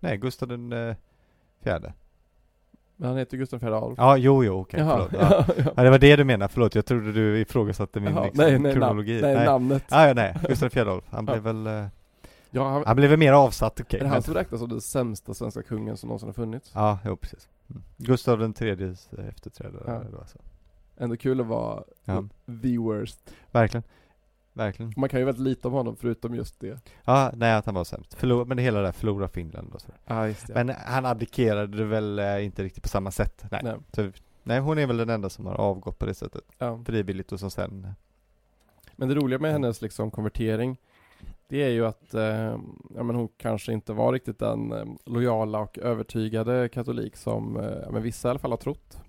Speaker 2: Nej, Gustav den eh, fjärde.
Speaker 1: Men han heter Gustav IV Adolf.
Speaker 2: Ja, jo, jo, okej,
Speaker 1: Jaha.
Speaker 2: förlåt. Ja. ja, det var det du menade, förlåt. Jag trodde du ifrågasatte min
Speaker 1: Jaha.
Speaker 2: liksom,
Speaker 1: nej, nej, namn,
Speaker 2: kronologi.
Speaker 1: nej, namnet.
Speaker 2: Ah, ja, nej, Gustav fjärde Adolf. Han
Speaker 1: Ja.
Speaker 2: blev väl... Eh,
Speaker 1: Ja, han,
Speaker 2: Han blev väl mer avsatt, okej.
Speaker 1: är det
Speaker 2: men- Ah.
Speaker 1: han som räknas som den sämsta svenska kungen som någonsin har funnits?
Speaker 2: Ja, jo precis. Mm. Gustav den tredjes eh, efterträdare.
Speaker 1: Ja. Mm.
Speaker 2: Då, alltså.
Speaker 1: Ändå kul att vara
Speaker 2: ja.
Speaker 1: the worst.
Speaker 2: Verkligen. Verkligen.
Speaker 1: Man kan ju väldigt lite om honom förutom just det.
Speaker 2: Ja, nej att han var sämst. Förlor, men det hela det där, förlora Finland och sådär.
Speaker 1: Ja, just det.
Speaker 2: Men han abdikerade det väl eh, inte riktigt på samma sätt. Nej.
Speaker 1: Nej.
Speaker 2: Så, nej, hon är väl den enda som har avgått på det sättet.
Speaker 1: Ja.
Speaker 2: Frivilligt och som sen... eh,
Speaker 1: Men det roliga med hennes liksom konvertering, det är ju att eh, ja, men hon kanske inte var riktigt den eh, lojala och övertygade katolik som eh, ja, men vissa i alla fall har trott.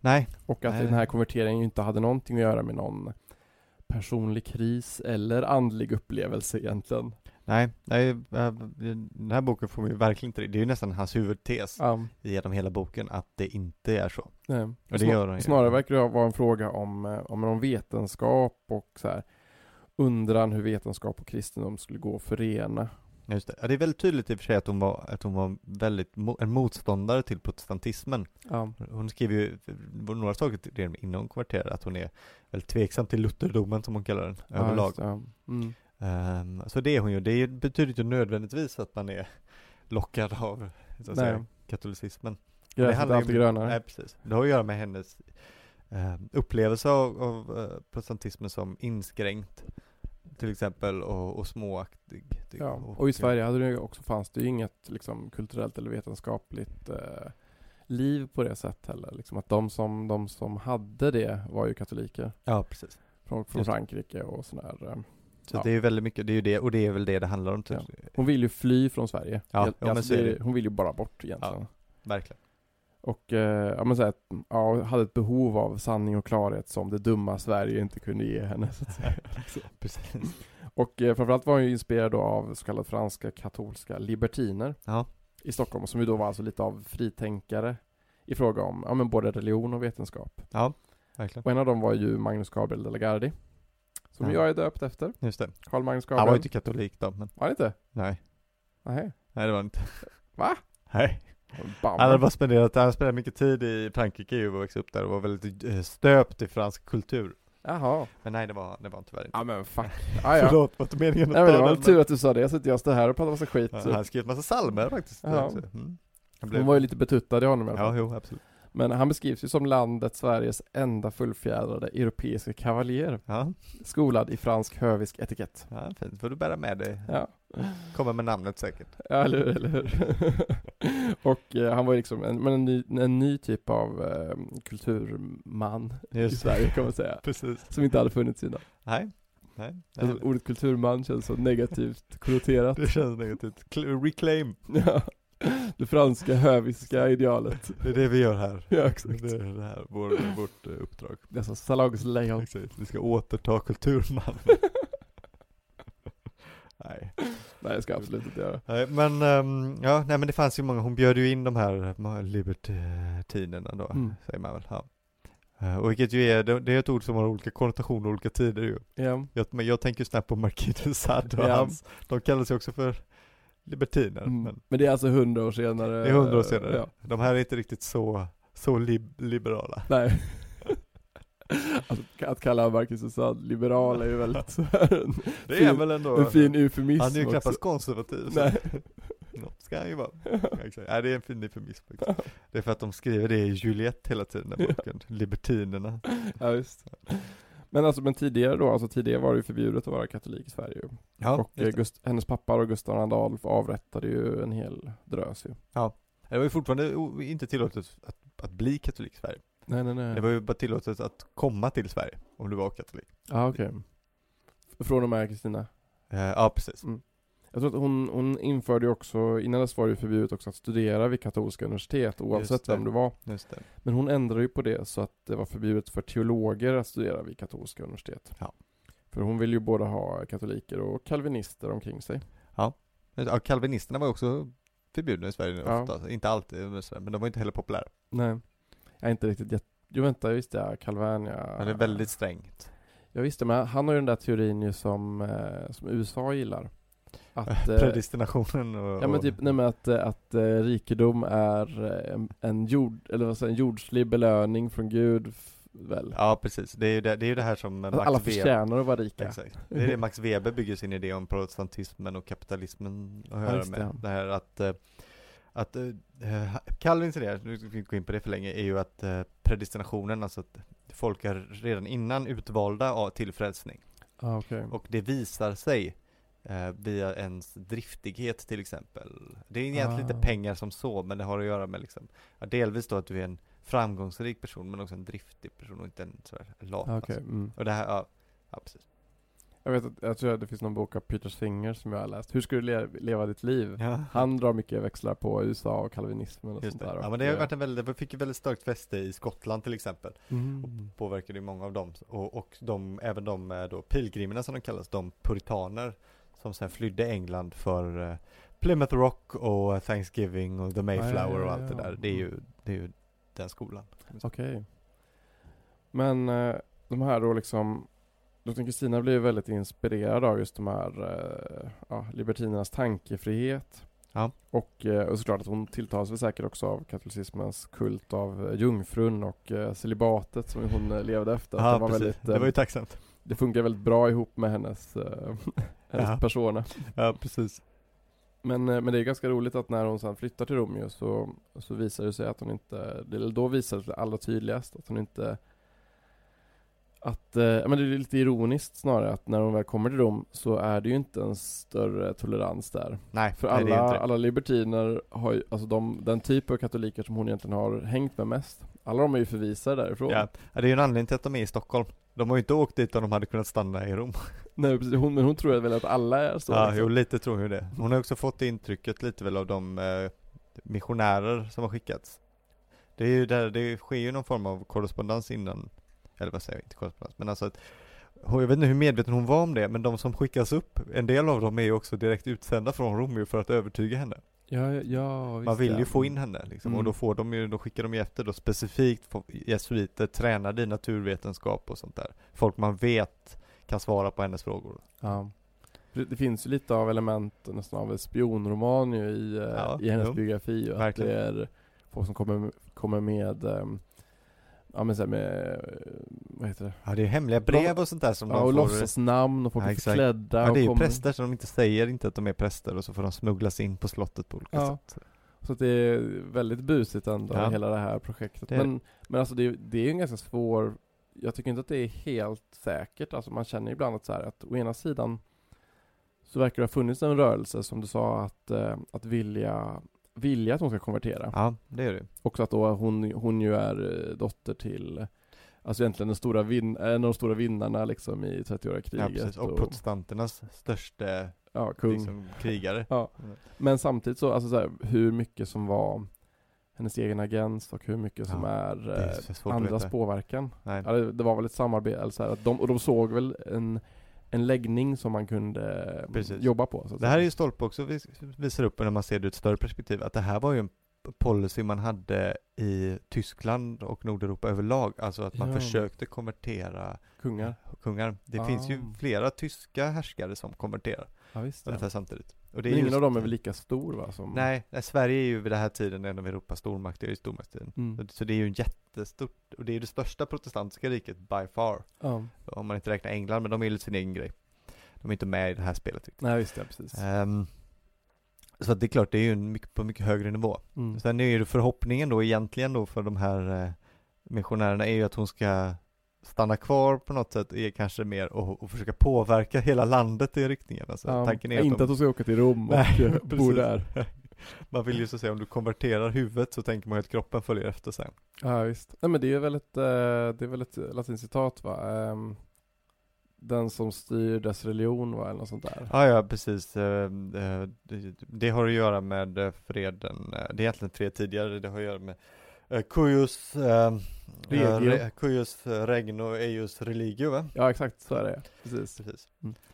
Speaker 2: Nej,
Speaker 1: Och att
Speaker 2: Nej.
Speaker 1: den här konverteringen ju inte hade någonting att göra med någon personlig kris eller andlig upplevelse egentligen.
Speaker 2: Nej, nej, eh, den här boken får man ju verkligen inte, det är ju nästan hans huvudtes
Speaker 1: Ja,
Speaker 2: genom hela boken att det inte är så.
Speaker 1: nej.
Speaker 2: det
Speaker 1: Snar-
Speaker 2: gör han ju.
Speaker 1: eh. snarare verkar det vara en fråga om, eh, om, om vetenskap och så här undran hur vetenskap och kristendom skulle gå att förena.
Speaker 2: Just det. Ja, det är väldigt tydligt i och för sig att hon var, att hon var väldigt mo- en motståndare till protestantismen.
Speaker 1: Ja,
Speaker 2: Hon skriver ju det var några saker till- redan innan hon konverterade, att hon är väldigt tveksam till lutherdomen som hon kallar den överlag.
Speaker 1: just det, ja. Mm.
Speaker 2: Ehm, så det är hon ju, det är- betyder inte nödvändigtvis att man är lockad av så
Speaker 1: Nej.
Speaker 2: att säga, katolicismen.
Speaker 1: Gräset är
Speaker 2: handlar ju
Speaker 1: alltid
Speaker 2: om-
Speaker 1: grönare.
Speaker 2: Nej, precis. Det har att göra med hennes ehm, upplevelse av, av eh, protestantismen som inskränkt till exempel och, och småaktig. typ. tycker
Speaker 1: Ja,
Speaker 2: jag.
Speaker 1: och i Sverige hade det ju också, fanns det ju inget liksom, kulturellt eller vetenskapligt eh, liv på det sätt heller. Liksom att de som, de som hade det var ju katoliker
Speaker 2: Ja, precis.
Speaker 1: från, från
Speaker 2: Just det.
Speaker 1: Frankrike och sådär. eh.
Speaker 2: Så
Speaker 1: Ja.
Speaker 2: det är ju väldigt mycket, det är ju det, och det är väl det det handlar om typ.
Speaker 1: Hon vill ju fly från Sverige.
Speaker 2: Ja,
Speaker 1: Helt-
Speaker 2: ja, men så är
Speaker 1: det-
Speaker 2: det.
Speaker 1: Hon vill ju bara bort egentligen.
Speaker 2: Verkligen.
Speaker 1: Och eh, ja, men så här, ja, hade ett behov av sanning och klarhet som det dumma Sverige inte kunde ge henne. Så att säga.
Speaker 2: Precis.
Speaker 1: Och eh, framförallt var hon ju inspirerad då av så kallade franska katolska libertiner.
Speaker 2: Ja,
Speaker 1: i Stockholm som ju då var alltså lite av fritänkare i fråga om ja, men både religion och vetenskap.
Speaker 2: ja, verkligen.
Speaker 1: Och en av dem var ju Magnus Gabriel de la Gardie, som
Speaker 2: Ja.
Speaker 1: jag är döpt efter.
Speaker 2: Just det.
Speaker 1: Karl Magnus Gabriel.
Speaker 2: Han var ju typ- inte katolik då, men
Speaker 1: Var han inte?
Speaker 2: nej.
Speaker 1: Nej.
Speaker 2: Nej det var han inte.
Speaker 1: Va?
Speaker 2: Nej.
Speaker 1: Bam.
Speaker 2: Han hade bara spenderat, han spenderade mycket tid i Frankrike ju och växte upp där och var väldigt eh, stöpt i fransk kultur.
Speaker 1: Jaha.
Speaker 2: Men nej det var, det var han tyvärr inte.
Speaker 1: Ja men fuck. Ah, ja.
Speaker 2: Förlåt, var inte meningen
Speaker 1: Nej men det var väl
Speaker 2: den, men-
Speaker 1: tur att du sa det, så att jag står här och pratar massa skit.
Speaker 2: Ja, Han skrev massa psalmer faktiskt.
Speaker 1: Ja.
Speaker 2: Mm. Han blev...
Speaker 1: Hon var ju lite betuttad i honom i alla fall.
Speaker 2: Ja, jo, absolut.
Speaker 1: Men han beskrivs ju som landet Sveriges enda fullfjädrade europeiska kavaljer.
Speaker 2: Ja,
Speaker 1: Skolad i fransk hövisk etikett.
Speaker 2: ja fint. får du bära med dig.
Speaker 1: Ja.
Speaker 2: Kommer med namnet säkert.
Speaker 1: Ja, eller hur, eller hur? Och eh, han var ju liksom en, men en, ny, en ny typ av eh, kulturman i
Speaker 2: Just det.
Speaker 1: Sverige kan man säga.
Speaker 2: Precis.
Speaker 1: Som inte hade funnits innan.
Speaker 2: Nej. Nej. nej.
Speaker 1: Alltså, ordet kulturman känns så negativt konnoterat.
Speaker 2: Det känns negativt. Cl- Reclaim,
Speaker 1: Ja. Det franska höviska idealet.
Speaker 2: det är det vi gör här.
Speaker 1: Ja, exakt.
Speaker 2: Det är det här, vår, vårt eh, uppdrag.
Speaker 1: Dessa salagslejon.
Speaker 2: Exakt. Vi ska återta kulturman. nej.
Speaker 1: Nej, det ska jag absolut inte göra.
Speaker 2: nej, men ehm, ja, nej men det fanns ju många, hon bjöd ju in de här ma- libertinerna då,
Speaker 1: Mm.
Speaker 2: säger man väl. Ja. Eh, Och vilket ju är, det det är ett ord som har olika konnotationer och olika tider ju.
Speaker 1: Ja,
Speaker 2: Jag, men jag tänker ju snabbt på Marquis de Sade och
Speaker 1: Ja.
Speaker 2: hans, de kallas ju också för libertiner. Men
Speaker 1: mm. Men det är alltså hundra år senare. eh,
Speaker 2: Det är hundra år senare.
Speaker 1: Ja.
Speaker 2: De här är inte riktigt så, så lib- liberala.
Speaker 1: Nej. Att, att kalla Marcus och Sand liberal är ju väldigt så här en,
Speaker 2: Det är
Speaker 1: Fin-
Speaker 2: väl ändå...
Speaker 1: en fin eufemism
Speaker 2: han är ju
Speaker 1: också.
Speaker 2: knappast konservativ. så-
Speaker 1: Nej.
Speaker 2: Något ska han ju vara. Ja, exakt. Nej, det är en fin eufemism. faktiskt. Det är för att de skriver det i Juliette hela tiden, den
Speaker 1: Ja.
Speaker 2: boken. Libertinerna.
Speaker 1: Ja, visst. Men alltså, men tidigare då, alltså tidigare var det ju förbjudet att vara katolik i Sverige ju.
Speaker 2: Ja,
Speaker 1: Och eh, Gust- hennes pappa och Gustav II Adolf avrättade ju en hel drös ju.
Speaker 2: det var ju fortfarande o- inte tillåtet att, att bli katolik i Sverige.
Speaker 1: Nej, nej,
Speaker 2: Det
Speaker 1: nej.
Speaker 2: var ju bara tillåtet att komma till Sverige om du var katolik.
Speaker 1: Ja, okej. Från och med Kristina.
Speaker 2: Eh, ja, precis.
Speaker 1: Jag tror att hon, hon införde ju också, innan dess var det ju förbjudet också att studera vid katolska universitet oavsett
Speaker 2: Just det.
Speaker 1: vem du var.
Speaker 2: Just det.
Speaker 1: Men hon ändrade ju på det så att det var förbjudet för teologer att studera vid katolska universitet.
Speaker 2: Ja.
Speaker 1: För hon vill ju både ha katoliker och kalvinister omkring sig.
Speaker 2: Ja, kalvinisterna var ju också förbjudna i Sverige
Speaker 1: Ja.
Speaker 2: ofta. Inte alltid, men sådär, men de var inte heller populära.
Speaker 1: Nej. Jag är inte riktigt jätte... Jo vänta, just det, ja, Calvin ja.
Speaker 2: Men det är väldigt strängt.
Speaker 1: Jag visste, men han har ju den där teorin ju som, eh, som USA gillar. Att, eh,
Speaker 2: Predestinationen och...
Speaker 1: ja men typ, nej men att, eh, att eh, rikedom är eh, en, en, jord, eller vad säger, en jordslig belöning från Gud, f- väl?
Speaker 2: Ja precis, det är ju det, det, är ju det här som
Speaker 1: Att
Speaker 2: Max
Speaker 1: alla
Speaker 2: Weber...
Speaker 1: förtjänar att vara rika.
Speaker 2: Exakt. Det är det Max Weber bygger sin idé om protestantismen och kapitalismen att höra
Speaker 1: just det.
Speaker 2: med. Det här att, eh, att eh, eh, Calvins idé, nu ska vi inte gå in på det för länge, är ju att eh, predestinationen, alltså att folk är redan innan utvalda av- till frälsning.
Speaker 1: Ah, okej.
Speaker 2: Och det visar sig eh, via ens driftighet till exempel. Det är egentligen
Speaker 1: Ah.
Speaker 2: inte pengar som så, men det har att göra med liksom, ja, delvis då att du är en framgångsrik person, men också en driftig person och inte en sådär lat.
Speaker 1: Ah,
Speaker 2: alltså.
Speaker 1: okej, mm.
Speaker 2: Och det här, ja, ja precis.
Speaker 1: Jag vet att jag tror att det finns någon bok av Peter Singer som jag har läst. Hur skulle du le- leva ditt liv?
Speaker 2: Ja.
Speaker 1: Han drar mycket växlar på USA och kalvinismen och
Speaker 2: Just
Speaker 1: sånt där.
Speaker 2: det.
Speaker 1: och-
Speaker 2: Ja men det har ju varit en väldigt, det fick ju väldigt starkt fäste i Skottland till exempel.
Speaker 1: Mm.
Speaker 2: Påverkade ju många av dem. Och, och de, även de eh, då pilgrimerna som de kallas, de puritaner som sen flydde England för eh, Plymouth Rock och Thanksgiving och The Mayflower
Speaker 1: ja,
Speaker 2: och
Speaker 1: ja,
Speaker 2: allt det
Speaker 1: ja.
Speaker 2: där. Det är ju, det är ju den skolan.
Speaker 1: Okej. Men eh, de här då liksom, Drottning Kristina blev ju väldigt inspirerad av just de här eh, ja, libertinernas tankefrihet.
Speaker 2: Ja.
Speaker 1: Och, eh, och såklart att hon tilltalas väl säkert också av katolicismens kult av eh, jungfrun och eh, celibatet som hon eh, levde efter. Att
Speaker 2: Ja,
Speaker 1: de var
Speaker 2: precis.
Speaker 1: väldigt, eh,
Speaker 2: Det var ju tacksamt.
Speaker 1: det funkar väldigt bra ihop med hennes, eh, hennes
Speaker 2: Ja.
Speaker 1: persona.
Speaker 2: Ja, precis.
Speaker 1: Men, eh, men det är ganska roligt att när hon sen flyttar till Romeo så, så visar det sig att hon inte, eller då visar det sig allra tydligast att hon inte att, eh, ja, men det är lite ironiskt snarare att när hon väl kommer till Rom så är det ju inte en större tolerans där.
Speaker 2: Nej,
Speaker 1: För
Speaker 2: nej, det är ju inte
Speaker 1: alla,
Speaker 2: det.
Speaker 1: alla libertiner har ju, alltså de, den typ av katoliker som hon egentligen har hängt med mest, alla de är ju förvisade därifrån.
Speaker 2: Ja. ja, det är ju en anledning till att de är i Stockholm. De har ju inte åkt dit om de hade kunnat stanna i Rom.
Speaker 1: Nej, precis, hon, men hon tror väl att alla är så.
Speaker 2: Ja,
Speaker 1: liksom.
Speaker 2: jo lite tror jag det. Hon har också fått det intrycket lite väl av de eh, missionärer som har skickats. Det är ju där, det sker ju någon form av korrespondens innan, eller vad säger jag, inte korrespondens, men alltså att hon- jag vet inte hur medveten hon var om det, men de som skickas upp, en del av dem är ju också direkt utsända från Rom ju för att övertyga henne.
Speaker 1: ja, ja, ja,
Speaker 2: Man
Speaker 1: visst,
Speaker 2: vill
Speaker 1: ja.
Speaker 2: ju få in henne liksom, och
Speaker 1: Mm.
Speaker 2: då får de ju, då skickar de ju efter då specifikt få- jesuiter, tränade i naturvetenskap och sånt där. Folk man vet kan svara på hennes frågor.
Speaker 1: Ja. Det, det finns ju lite av element nästan av en spionroman ju i, eh,
Speaker 2: Ja,
Speaker 1: i hennes
Speaker 2: jo.
Speaker 1: biografi. ju, att
Speaker 2: Verkligen.
Speaker 1: det är folk som kommer, kommer med, ehm, ja men så här med, eh, vad heter det?
Speaker 2: Ja det är hemliga brev och sånt där som
Speaker 1: Ja,
Speaker 2: de
Speaker 1: och
Speaker 2: får.
Speaker 1: låtsas namn och folk
Speaker 2: Ja,
Speaker 1: är
Speaker 2: exakt.
Speaker 1: förklädda.
Speaker 2: Ja, det är
Speaker 1: och
Speaker 2: ju
Speaker 1: kommer-
Speaker 2: präster som de inte säger inte att de är präster och så får de smugglas in på slottet på olika
Speaker 1: Ja.
Speaker 2: sätt.
Speaker 1: Så att det är väldigt busigt ändå,
Speaker 2: Ja.
Speaker 1: hela det här projektet.
Speaker 2: Det är det.
Speaker 1: Men, men alltså det, är- det är ju en ganska svår, jag tycker inte att det är helt säkert. Alltså man känner ibland att så här, att å ena sidan så verkar det ha funnits en rörelse, som du sa, att, eh, att vilja, vilja att hon ska konvertera.
Speaker 2: Ja, det är det.
Speaker 1: Också att då hon, hon ju är eh, dotter till Alltså egentligen den stora vin, en av de stora vinnarna liksom i 30-åriga
Speaker 2: Ja,
Speaker 1: kriget
Speaker 2: precis. Och protestanternas största
Speaker 1: ja, kung.
Speaker 2: liksom, krigare.
Speaker 1: Men samtidigt så, alltså så här, hur mycket som var hennes egen agens och hur mycket som
Speaker 2: Ja,
Speaker 1: är,
Speaker 2: Det
Speaker 1: eh,
Speaker 2: är så svårt att
Speaker 1: andras
Speaker 2: veta.
Speaker 1: påverkan.
Speaker 2: Nej.
Speaker 1: Ja, det, det var väl ett samarbete, eller så här, att de, och de såg väl en, en läggning som man kunde eh,
Speaker 2: Precis.
Speaker 1: jobba på. Så att
Speaker 2: Det här är
Speaker 1: säga.
Speaker 2: ju Stolpe också vis- visar upp när man ser det ur ett större perspektiv, att det här var ju en policy man hade i Tyskland och Nordeuropa överlag, alltså att man
Speaker 1: Ja.
Speaker 2: försökte konvertera
Speaker 1: kungar.
Speaker 2: kungar. Det finns ju
Speaker 1: Ah.
Speaker 2: flera tyska härskare som konverterar
Speaker 1: Ja, visst, ja.
Speaker 2: ungefär samtidigt. Och det
Speaker 1: Men ingen
Speaker 2: just-
Speaker 1: av dem är väl lika stor va? Som,
Speaker 2: Nej, nej, Sverige är ju vid den här tiden en av Europas stormakter, det är ju stormaktstiden.
Speaker 1: Mm.
Speaker 2: Så- Så det är ju en jättestort, och det är det största protestantiska riket by far.
Speaker 1: Ja.
Speaker 2: Om man inte räknar England, men de är ju lite sin egen grej. De är inte med i det här spelet riktigt.
Speaker 1: Nej, visst ja, precis.
Speaker 2: Ehm, så att det är klart, det är ju en mycket, på mycket högre nivå.
Speaker 1: Mm.
Speaker 2: Sen är ju förhoppningen då egentligen då för de här eh, missionärerna är ju att hon ska stanna kvar på något sätt, är kanske mer och, och försöka påverka hela landet i riktningen. Alltså,
Speaker 1: Ja,
Speaker 2: tanken är
Speaker 1: inte att
Speaker 2: de-
Speaker 1: hon ska åka till Rom och
Speaker 2: Nej,
Speaker 1: eh, bo
Speaker 2: precis.
Speaker 1: där.
Speaker 2: Man vill ju så att säga, om du konverterar huvudet så tänker man ju att kroppen följer efter sen.
Speaker 1: Ja visst. Nej men det är väl ett, eh, det är väl ett latincitat va? Ehm, Den som styr dess religion va, eller något sånt där.
Speaker 2: Ja, ja, precis. Eh, eh, Det, det har att göra med eh, freden, eh, det är egentligen fred tidigare, det har att göra med eh, Cuius, eh,
Speaker 1: Regio.
Speaker 2: eh, Re- Cuius eh, regno eius religio, va?
Speaker 1: Ja exakt, så är det. Precis.
Speaker 2: Precis.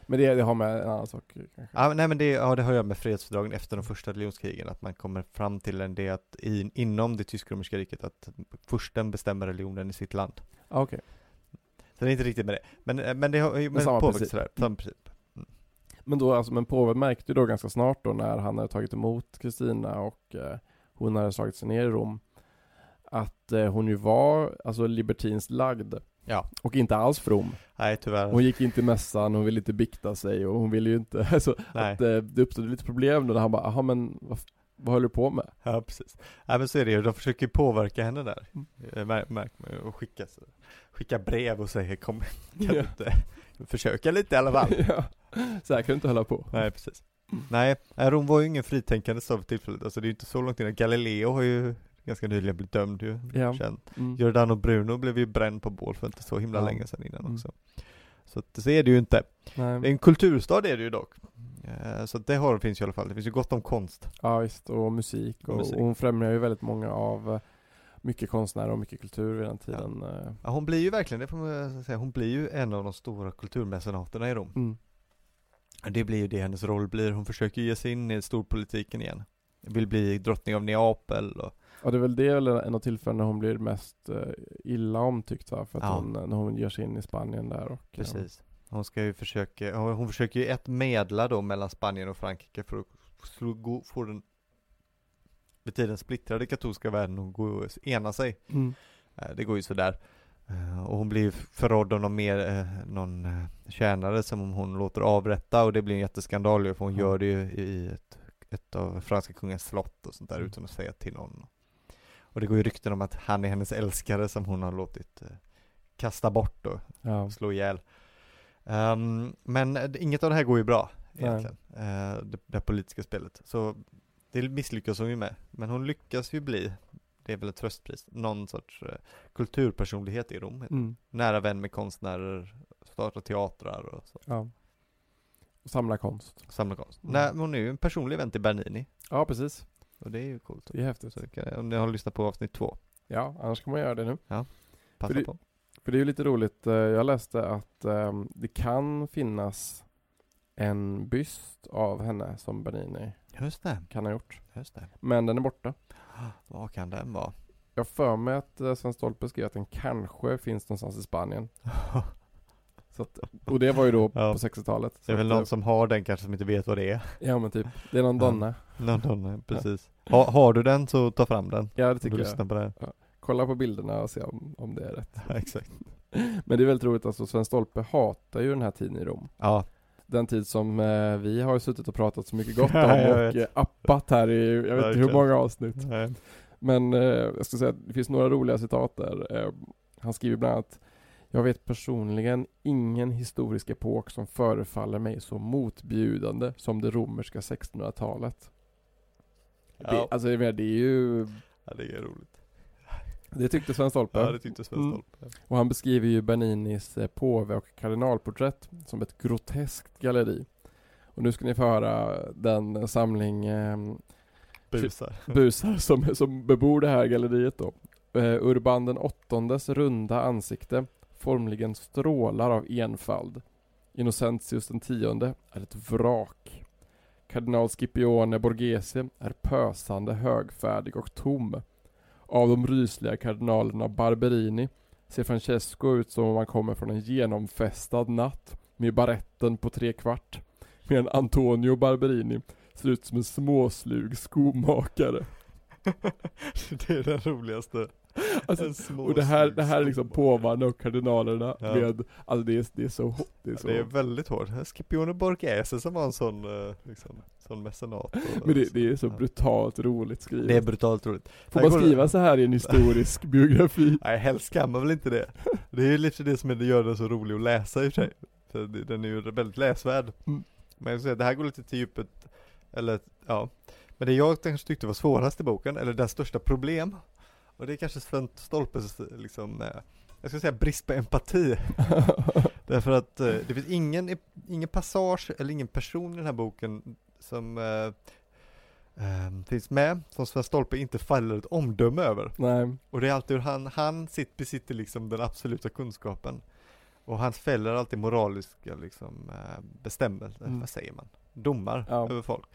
Speaker 1: Men det, det har med en annan sak kanske.
Speaker 2: Ja, men- nej, men det, ja, det har att göra med fredsfördragen efter de första religionskrigen, att man kommer fram till en det att i, inom det tysk-romerska riket, att fursten bestämmer religionen i sitt land.
Speaker 1: Ah, Okej.
Speaker 2: Så det är inte riktigt med det, men, eh, men det har ju men
Speaker 1: samma
Speaker 2: påverkat
Speaker 1: princip.
Speaker 2: sådär, samma princip.
Speaker 1: Men då alltså, men påven märkte ju då ganska snart då när han hade tagit emot Kristina och eh, hon hade slagit sig ner i Rom att eh, hon ju var alltså libertins lagd
Speaker 2: Ja.
Speaker 1: och inte alls from.
Speaker 2: Nej, tyvärr.
Speaker 1: Hon gick inte i mässan, hon ville inte bikta sig och hon ville ju inte, alltså,
Speaker 2: nej.
Speaker 1: att eh, det uppstod lite problem då när han bara, jaha men vad, f- vad höll du på med?
Speaker 2: Ja precis. Ja men så är det ju, de försöker ju påverka henne där.
Speaker 1: Mm.
Speaker 2: Eh, Mär, märker man ju, och skicka, så- skicka brev och säger kom, kan du
Speaker 1: Ja.
Speaker 2: inte försöka lite i alla fall?
Speaker 1: ja. Så här kan du inte hålla på.
Speaker 2: Nej precis.
Speaker 1: Mm.
Speaker 2: Nej, eh, Rom var ju ingen fritänkande så för tillfället, alltså det är ju inte så långt innan. Galileo har ju ganska nyligen blivit dömd ju.
Speaker 1: Ja.
Speaker 2: Känd.
Speaker 1: Mm.
Speaker 2: Giordano Bruno blev ju bränd på bål för inte så himla
Speaker 1: Ja.
Speaker 2: länge sedan innan
Speaker 1: Mm.
Speaker 2: också. Så, att, så är det ju inte.
Speaker 1: Nej.
Speaker 2: En kulturstad är det ju dock. Eh, Så att det har, finns ju i alla fall. Det finns ju gott om konst.
Speaker 1: Ja visst, och musik. Och,
Speaker 2: Musik.
Speaker 1: och hon främjar ju väldigt många av eh, mycket konstnärer och mycket kultur vid den tiden. eh.
Speaker 2: Ja, hon blir ju verkligen, det får man säga, hon blir ju en av de stora kulturmecenaterna i Rom.
Speaker 1: Mm.
Speaker 2: Det blir ju det hennes roll blir. Hon försöker ju ge sig in i storpolitiken igen. Vill bli drottning av Neapel och
Speaker 1: Ja det är väl det eller en av tillfällena när hon blir mest eh, illa omtyckt va? För att
Speaker 2: Ja.
Speaker 1: hon, eh, när hon ger sig in i Spanien där och eh,
Speaker 2: Precis. Hon ska ju försöka, hon hon försöker ju ett medla då mellan Spanien och Frankrike för att slå- gå- få den med tiden splittrade katolska världen att gå- ena sig.
Speaker 1: Mm.
Speaker 2: Eh, Det går ju sådär. Eh, Och hon blir ju förrådd av någon, mer, eh, någon eh, tjänare som hon låter avrätta och det blir en jätteskandal ju, för hon
Speaker 1: Ja.
Speaker 2: gör det ju i- i ett, ett av franska kungens slott och sånt där
Speaker 1: Mm.
Speaker 2: utan att säga till någon. Och det går ju rykten om att han är hennes älskare som hon har låtit eh, kasta bort då,
Speaker 1: Ja.
Speaker 2: slå ihjäl. Ehm, men eh, inget av det här går ju bra
Speaker 1: Nej.
Speaker 2: egentligen, Eh, det, det här politiska spelet. Så det misslyckas hon ju med. Men hon lyckas ju bli, det är väl ett tröstpris, någon sorts eh, kulturpersonlighet i Rom.
Speaker 1: Mm.
Speaker 2: Nära vän med konstnärer, startar teatrar och så,
Speaker 1: ja. Och samla konst.
Speaker 2: samlar konst.
Speaker 1: Mm.
Speaker 2: Nej, men hon är ju en personlig vän till Bernini
Speaker 1: Ja precis,
Speaker 2: och det är ju coolt.
Speaker 1: det är häftigt.
Speaker 2: Så det kan, om ni har lyssnat på avsnitt två,
Speaker 1: Ja, annars kan man göra det nu.
Speaker 2: passa
Speaker 1: För det-
Speaker 2: på.
Speaker 1: För det är ju lite roligt, eh, jag läste att ehm, det kan finnas en byst av henne som Bernini
Speaker 2: Just det,
Speaker 1: kan ha gjort.
Speaker 2: just det.
Speaker 1: Men den är borta.
Speaker 2: Vad kan den vara?
Speaker 1: Jag har för mig att eh, Sven Stolpe skrev att den kanske finns någonstans i Spanien. Så att, och det var ju då
Speaker 2: Ja.
Speaker 1: på 60-talet.
Speaker 2: Det är
Speaker 1: Så
Speaker 2: väl
Speaker 1: att,
Speaker 2: någon som har den kanske som inte vet vad det är.
Speaker 1: Ja men typ, det är någon
Speaker 2: Ja.
Speaker 1: donna.
Speaker 2: London, nej, eh, precis. Ha, har du den så ta fram den.
Speaker 1: Ja det
Speaker 2: Om du
Speaker 1: tycker jag.
Speaker 2: lyssnar på det här.
Speaker 1: Kolla på bilderna och se om, om det är rätt.
Speaker 2: Ja, exakt.
Speaker 1: Men det är väldigt roligt, alltså Sven Stolpe hatar ju den här tiden i Rom.
Speaker 2: Ja,
Speaker 1: Den tid som eh, vi har ju suttit och pratat så mycket gott om
Speaker 2: Ja, jag
Speaker 1: och
Speaker 2: vet.
Speaker 1: eh, appat här i, jag vet inte hur
Speaker 2: Verkligen.
Speaker 1: många avsnitt.
Speaker 2: nej.
Speaker 1: Men eh, jag ska säga att det finns några roliga citat där. Eh, han skriver bland annat Jag vet personligen ingen historisk epok som förefaller mig så motbjudande som det romerska 1600-talet. Det,
Speaker 2: Ja.
Speaker 1: alltså jag menar, det är ju
Speaker 2: ja, det är roligt.
Speaker 1: Det tyckte Sven Stolpe.
Speaker 2: Ja, det tyckte Sven
Speaker 1: Mm.
Speaker 2: Stolpe.
Speaker 1: Och han beskriver ju Berninis eh, påve och kardinalporträtt som ett groteskt galleri. Och nu ska ni få höra den samling eh,
Speaker 2: Busar.
Speaker 1: busar som, som bebor det här galleriet då. Eh, Urban den åttondes runda ansikte formligen strålar av enfald. Innocentius den tionde är ett vrak. Kardinal Scipione Borghese är pösande, högfärdig och tom. Av de rysliga kardinalerna Barberini ser Francesco ut som om han kommer från en genomfestad natt med baretten på tre kvart. Medan Antonio Barberini ser ut som en småslug skomakare.
Speaker 2: det är den roligaste.
Speaker 1: Alltså,
Speaker 2: En små
Speaker 1: Och det här,
Speaker 2: snygg
Speaker 1: det här är liksom
Speaker 2: skomakare.
Speaker 1: påvarna och kardinalerna
Speaker 2: Ja.
Speaker 1: med, alltså det är, det är så hot, det är så.
Speaker 2: Det är väldigt hårt. Scipione Borghese som var en sån, eh, liksom, sån mecenat. och-
Speaker 1: men det, det är så
Speaker 2: Ja.
Speaker 1: brutalt roligt skrivet.
Speaker 2: Det är brutalt roligt.
Speaker 1: Får
Speaker 2: Här
Speaker 1: man
Speaker 2: går det-
Speaker 1: skriva så här i en historisk biografi?
Speaker 2: Nej, helst kan man väl inte det. Det är ju lite det som är- det gör den så rolig att läsa i och för sig. För det- den är ju väldigt läsvärd.
Speaker 1: Mm.
Speaker 2: Men jag skulle säga, det här går lite till djupet, eller ja. Men det jag kanske tyckte var svårast i boken, eller dess största problem, och det är kanske Sven Stolpes liksom, eh, jag skulle säga brist på empati. Därför att eh, det finns ingen, ingen passage eller ingen person i den här boken som eh, eh, finns med, som Sven Stolpe inte faller ett omdöme över.
Speaker 1: Nej,
Speaker 2: Och det är alltid hur han, han sitt, besitter liksom den absoluta kunskapen. Och han fäller alltid moraliska liksom, eh, bestämmelser,
Speaker 1: Mm.
Speaker 2: vad säger man? Domar
Speaker 1: Ja.
Speaker 2: över folk.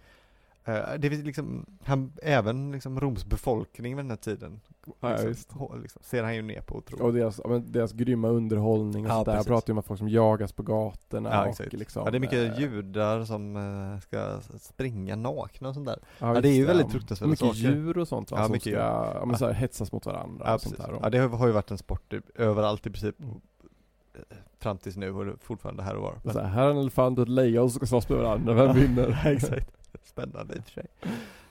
Speaker 2: Eh, Det finns liksom, han, även liksom Roms befolkning vid den här tiden
Speaker 1: ja,
Speaker 2: liksom,
Speaker 1: visst.
Speaker 2: hå- liksom, ser han ju ner på och tror.
Speaker 1: Och deras, ja, men deras grymma underhållning och
Speaker 2: Ja,
Speaker 1: sådär. Jag
Speaker 2: precis.
Speaker 1: pratar ju om att folk som jagas på gatorna
Speaker 2: Ja,
Speaker 1: och
Speaker 2: exakt.
Speaker 1: liksom.
Speaker 2: ja, det är mycket
Speaker 1: eh,
Speaker 2: judar som eh, ska springa nakna och sånt där.
Speaker 1: Ja,
Speaker 2: det är ju
Speaker 1: visst,
Speaker 2: väldigt
Speaker 1: ja.
Speaker 2: fruktansvärda
Speaker 1: Mycket
Speaker 2: saker.
Speaker 1: djur och sånt va,
Speaker 2: Ja,
Speaker 1: som
Speaker 2: mycket
Speaker 1: ska,
Speaker 2: djur.
Speaker 1: ja, men
Speaker 2: Ja.
Speaker 1: så här, hetsas mot varandra
Speaker 2: Ja,
Speaker 1: och sånt
Speaker 2: precis.
Speaker 1: där. Mm.
Speaker 2: ja, det har ju varit en sport i- överallt i princip. eh, Fram tills nu och det är fortfarande här och var.
Speaker 1: så här, här är en elefant och ett lejon som ska slåss med varandra, vem vinner?
Speaker 2: Ja, exakt. Spännande i och för sig.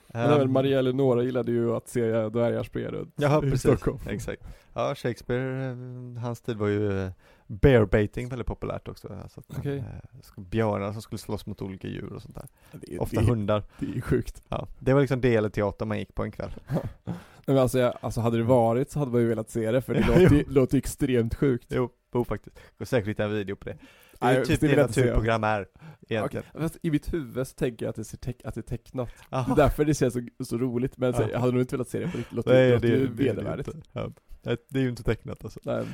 Speaker 1: Men även
Speaker 2: Ehm,
Speaker 1: Maria Eleonora gillade ju att se eh, dvärgar springa runt
Speaker 2: Jaha,
Speaker 1: i
Speaker 2: precis.
Speaker 1: Stockholm.
Speaker 2: Exakt. Ja, Shakespeare, eh, hans tid var ju eh, bearbaiting väldigt populärt också. Alltså att man,
Speaker 1: Okej.
Speaker 2: eh, sk- Björnar som skulle slåss mot olika djur och sånt där.
Speaker 1: Det, är-
Speaker 2: Ofta
Speaker 1: det, är-
Speaker 2: hundar.
Speaker 1: det är sjukt.
Speaker 2: Ja. Det var liksom det eller teater man gick på en kväll.
Speaker 1: Nej, men alltså, jag, alltså hade det varit så hade man ju velat se det för det
Speaker 2: Ja,
Speaker 1: låter, ju-
Speaker 2: jo.
Speaker 1: låter ju extremt sjukt.
Speaker 2: Jo, jo faktiskt. Går säkert hitta en video på det. Det är ju
Speaker 1: Nej,
Speaker 2: typ
Speaker 1: det är
Speaker 2: det
Speaker 1: lätt att se.
Speaker 2: naturprogram är, egentligen.
Speaker 1: Okej, fast I mitt huvud så tänker jag att det, ser teck- att det är tecknat. Det
Speaker 2: Aha.
Speaker 1: är därför det känns så, så roligt, men så,
Speaker 2: Ah. Ja.
Speaker 1: jag hade nog inte velat se det på riktigt. Låter,
Speaker 2: Nej,
Speaker 1: låter
Speaker 2: det,
Speaker 1: ju
Speaker 2: det, det, är
Speaker 1: vedervärdigt.
Speaker 2: inte. Ja. Nej, det är ju inte tecknat alltså.
Speaker 1: Nej.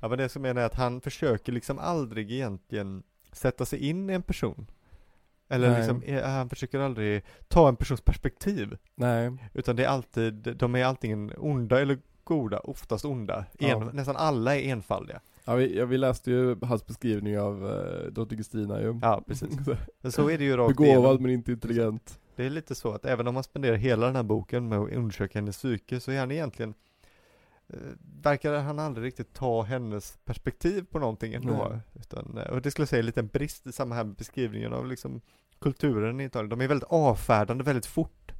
Speaker 2: Ja men det som menar är att han försöker liksom aldrig egentligen sätta sig in i en person. Eller
Speaker 1: Nej.
Speaker 2: liksom, eh, han försöker aldrig ta en persons perspektiv.
Speaker 1: Nej.
Speaker 2: Utan det är alltid, de är antingen onda eller goda, oftast onda. En,
Speaker 1: Ja.
Speaker 2: Nästan alla är enfaldiga.
Speaker 1: Ja, vi, ja, vi läste ju hans beskrivning av eh, Drottning Kristina ju.
Speaker 2: Ja, precis.
Speaker 1: Så,
Speaker 2: Men så är det ju rakt
Speaker 1: Begåvad
Speaker 2: igenom.
Speaker 1: men inte intelligent.
Speaker 2: Det är lite så att även om man spenderar hela den här boken med att undersöka hennes psyke så är han egentligen eh, verkar han aldrig riktigt ta hennes perspektiv på någonting ändå.
Speaker 1: Nej.
Speaker 2: Utan, eh, och det skulle jag säga är lite en brist i samma här med beskrivningen av liksom kulturen i Italien. De är väldigt avfärdande väldigt fort.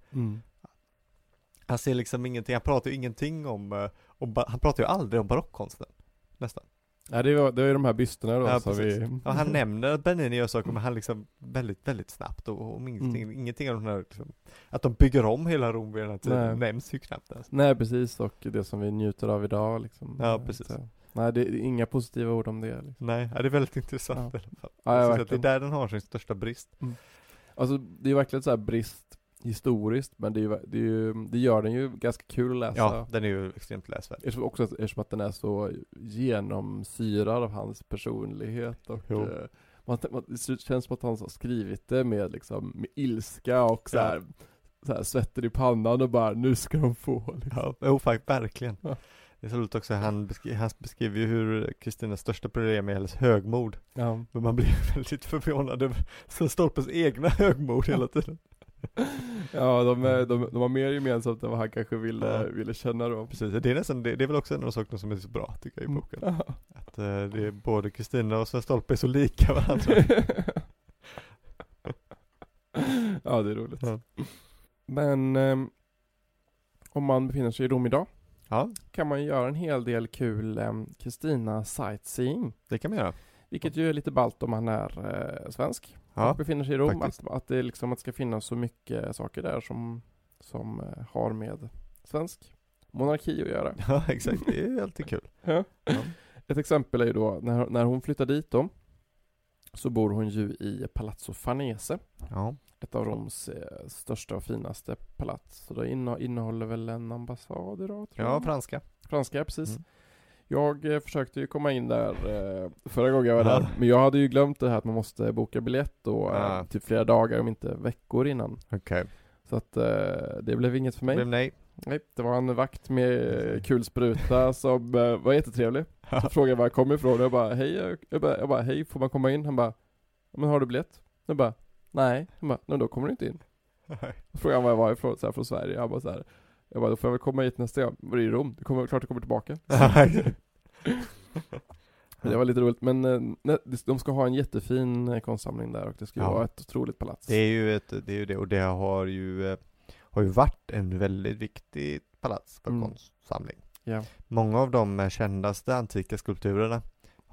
Speaker 2: Han ser liksom ingenting, han pratar ju ingenting om, eh, om ba- han pratar ju aldrig om barockkonsten. Nästan.
Speaker 1: Ja, det var, det var ju de här bysterna då
Speaker 2: Ja,
Speaker 1: som
Speaker 2: precis.
Speaker 1: vi...
Speaker 2: Ja, han nämner att Bernini gör saker men han liksom väldigt, väldigt snabbt och, och om ingenting,
Speaker 1: Mm.
Speaker 2: ingenting av den här, liksom, att de bygger om hela Rom vid den här tiden
Speaker 1: Nej.
Speaker 2: nämns ju knappt ens.
Speaker 1: Nej precis, och det som vi njuter av idag liksom.
Speaker 2: Ja, precis.
Speaker 1: Så. Nej, det är inga positiva ord om det. Liksom.
Speaker 2: Nej, ja, det är väldigt intressant i alla fall.
Speaker 1: Ja, ja,
Speaker 2: Jag tycker att
Speaker 1: verkligen.
Speaker 2: det är där den har sin största brist.
Speaker 1: Alltså det är verkligen så här brist historiskt, men det, är ju, det, är ju, det gör den ju ganska kul att läsa.
Speaker 2: Ja, Alltså, den är ju extremt läsvärd.
Speaker 1: Eftersom, också att, eftersom att den är så genomsyrad av hans personlighet och
Speaker 2: Jo.
Speaker 1: eh, man, man, det känns som att han har skrivit det med, liksom, med ilska och så
Speaker 2: Ja.
Speaker 1: här, så här svetten i pannan och bara nu ska de få. Liksom.
Speaker 2: Ja, jo, faktiskt, verkligen.
Speaker 1: Ja.
Speaker 2: Det är så roligt också, han, beskri- han beskriver ju hur Kristinas största problem är hennes högmod.
Speaker 1: Ja.
Speaker 2: Men man blir väldigt förvånad över Sten Stolpes egna högmod hela tiden.
Speaker 1: Ja, de, är- de, de har mer gemensamt än vad han kanske ville,
Speaker 2: Ja.
Speaker 1: ville känna då.
Speaker 2: Precis, det är nästan, det, det är väl också en av sakerna som är så bra tycker
Speaker 1: Mm.
Speaker 2: jag i boken.
Speaker 1: Ja.
Speaker 2: Att eh, det är både Kristina och Sven Stolpe är så lika varandra.
Speaker 1: ja, det är roligt.
Speaker 2: Ja.
Speaker 1: Men ehm, om man befinner sig i Rom idag
Speaker 2: ja,
Speaker 1: kan man ju göra en hel del kul ehm, Kristina sightseeing.
Speaker 2: det kan man göra.
Speaker 1: Vilket ju är lite ballt om man är eh, svensk och
Speaker 2: Ja,
Speaker 1: befinner sig i Rom.
Speaker 2: faktiskt.
Speaker 1: Att, att det liksom att det ska finnas så mycket saker där som, som eh, har med svensk monarki att göra.
Speaker 2: ja exakt. Det är ju alltid kul.
Speaker 1: Ja.
Speaker 2: Ja.
Speaker 1: Ett exempel är ju då när, när hon flyttar dit då så bor hon ju i Palazzo Farnese,
Speaker 2: Ja,
Speaker 1: ett av Roms eh, största och finaste palats. Så det inne, innehåller väl en ambassad idag tror
Speaker 2: ja
Speaker 1: jag.
Speaker 2: franska.
Speaker 1: Franska, precis.
Speaker 2: Mm.
Speaker 1: Jag eh, försökte ju komma in där eh, förra gången jag var
Speaker 2: Ja.
Speaker 1: där, men jag hade ju glömt det här att man måste boka biljett då, eh,
Speaker 2: Ja.
Speaker 1: typ flera dagar om inte veckor innan.
Speaker 2: Okej.
Speaker 1: Så att eh, det blev inget för mig.
Speaker 2: Okay. Nej.
Speaker 1: Nej, det var en vakt med eh, kulspruta som eh, var jättetrevlig. Så frågade jag var jag kom ifrån och jag bara hej, jag- jag bara, jag bara hej, får man komma in? Han bara, men har du biljett? Jag bara, nej. Han bara, men då kommer du inte in. Då frågade han var jag var ifrån, så här, från Sverige. Han bara så här, jag bara, då får jag väl komma hit nästa gång. Men det är ju Rom, det kommer, klart du kommer tillbaka. Men det var lite roligt, men eh, nej, det- de ska ha en jättefin eh, konstsamling där och det ska ju
Speaker 2: Ja.
Speaker 1: vara ett otroligt palats.
Speaker 2: det är ju ett, det är ju det och det har ju, eh, har ju varit en väldigt viktig palats för
Speaker 1: Mm.
Speaker 2: konstsamling.
Speaker 1: Ja.
Speaker 2: Många av de eh, kändaste antika skulpturerna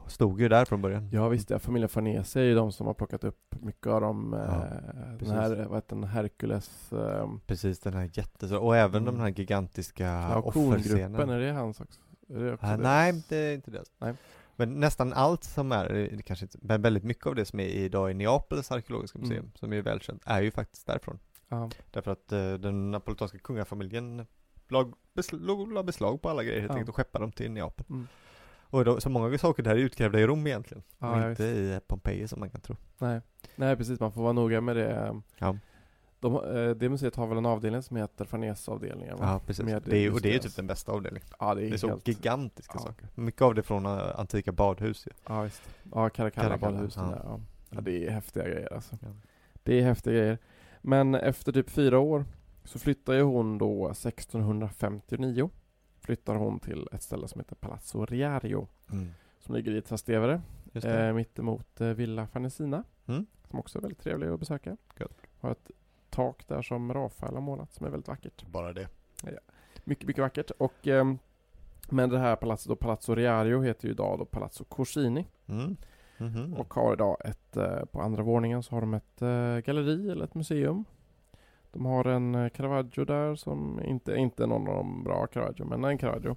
Speaker 2: stod ju där från början.
Speaker 1: Ja visst, ja, familjen Farnese är ju de som har plockat upp mycket av dem, eh,
Speaker 2: Ja,
Speaker 1: den
Speaker 2: precis.
Speaker 1: här, vad heter den, Herkules, eh,
Speaker 2: Precis den här jättestora, och även
Speaker 1: Mm.
Speaker 2: de här gigantiska
Speaker 1: ja,
Speaker 2: offerscenerna.
Speaker 1: Korngruppen, är det hans också? Är det också
Speaker 2: Ah,
Speaker 1: det?
Speaker 2: nej, det är inte det.
Speaker 1: Nej.
Speaker 2: Men nästan allt som är, det kanske inte, men väldigt mycket av det som är idag i Neapels arkeologiska museum,
Speaker 1: Mm.
Speaker 2: som är välkänt, är ju faktiskt därifrån.
Speaker 1: Ja.
Speaker 2: Därför att eh, den napolitanska kungafamiljen lag, beslag, la beslag på alla grejer helt
Speaker 1: Ja.
Speaker 2: enkelt och skeppade dem till Neapel.
Speaker 1: Mm.
Speaker 2: Och då, så många saker där är utgrävda i Rom egentligen,
Speaker 1: Ja,
Speaker 2: och
Speaker 1: ja,
Speaker 2: inte i eh, Pompeji som man kan tro.
Speaker 1: Nej. Nej, precis. Man får vara noga med det.
Speaker 2: Ja.
Speaker 1: De, eh, det museet har väl en avdelning som heter Farnese-avdelningen? va?
Speaker 2: Ja, precis.
Speaker 1: Med
Speaker 2: Det är, och det är ju
Speaker 1: just
Speaker 2: typ den bästa avdelningen.
Speaker 1: Ja, det är,
Speaker 2: Det är så
Speaker 1: helt...
Speaker 2: gigantiska
Speaker 1: Ja.
Speaker 2: saker. Mycket av det från eh, antika badhus ju.
Speaker 1: Ja, visst. Ja, Caracalla
Speaker 2: Caracalla,
Speaker 1: badhus.
Speaker 2: ja. Mm.
Speaker 1: Ja. Ja. ja, det är häftiga grejer alltså.
Speaker 2: Ja.
Speaker 1: Det är häftiga grejer. Men efter typ fyra år så flyttar ju hon då 1659. Flyttar hon till ett ställe som heter Palazzo Riario.
Speaker 2: Mm.
Speaker 1: Som ligger i Trastevere,
Speaker 2: Just det.
Speaker 1: eh, mittemot eh, Villa Farnesina.
Speaker 2: Mm.
Speaker 1: Som också är väldigt trevlig att besöka.
Speaker 2: Gött.
Speaker 1: Har ett tak där som Rafael har målat som är väldigt vackert.
Speaker 2: Bara det.
Speaker 1: Mycket, mycket vackert. Och, ehm, men det här palatset då, Palazzo Riario heter ju idag då Palazzo Corsini.
Speaker 2: Mm. Mhm.
Speaker 1: Och har idag ett, eh, på andra våningen så har de ett eh, galleri eller ett museum. De har en eh, Caravaggio där som inte, inte någon av de bra Caravaggio, men en Caravaggio.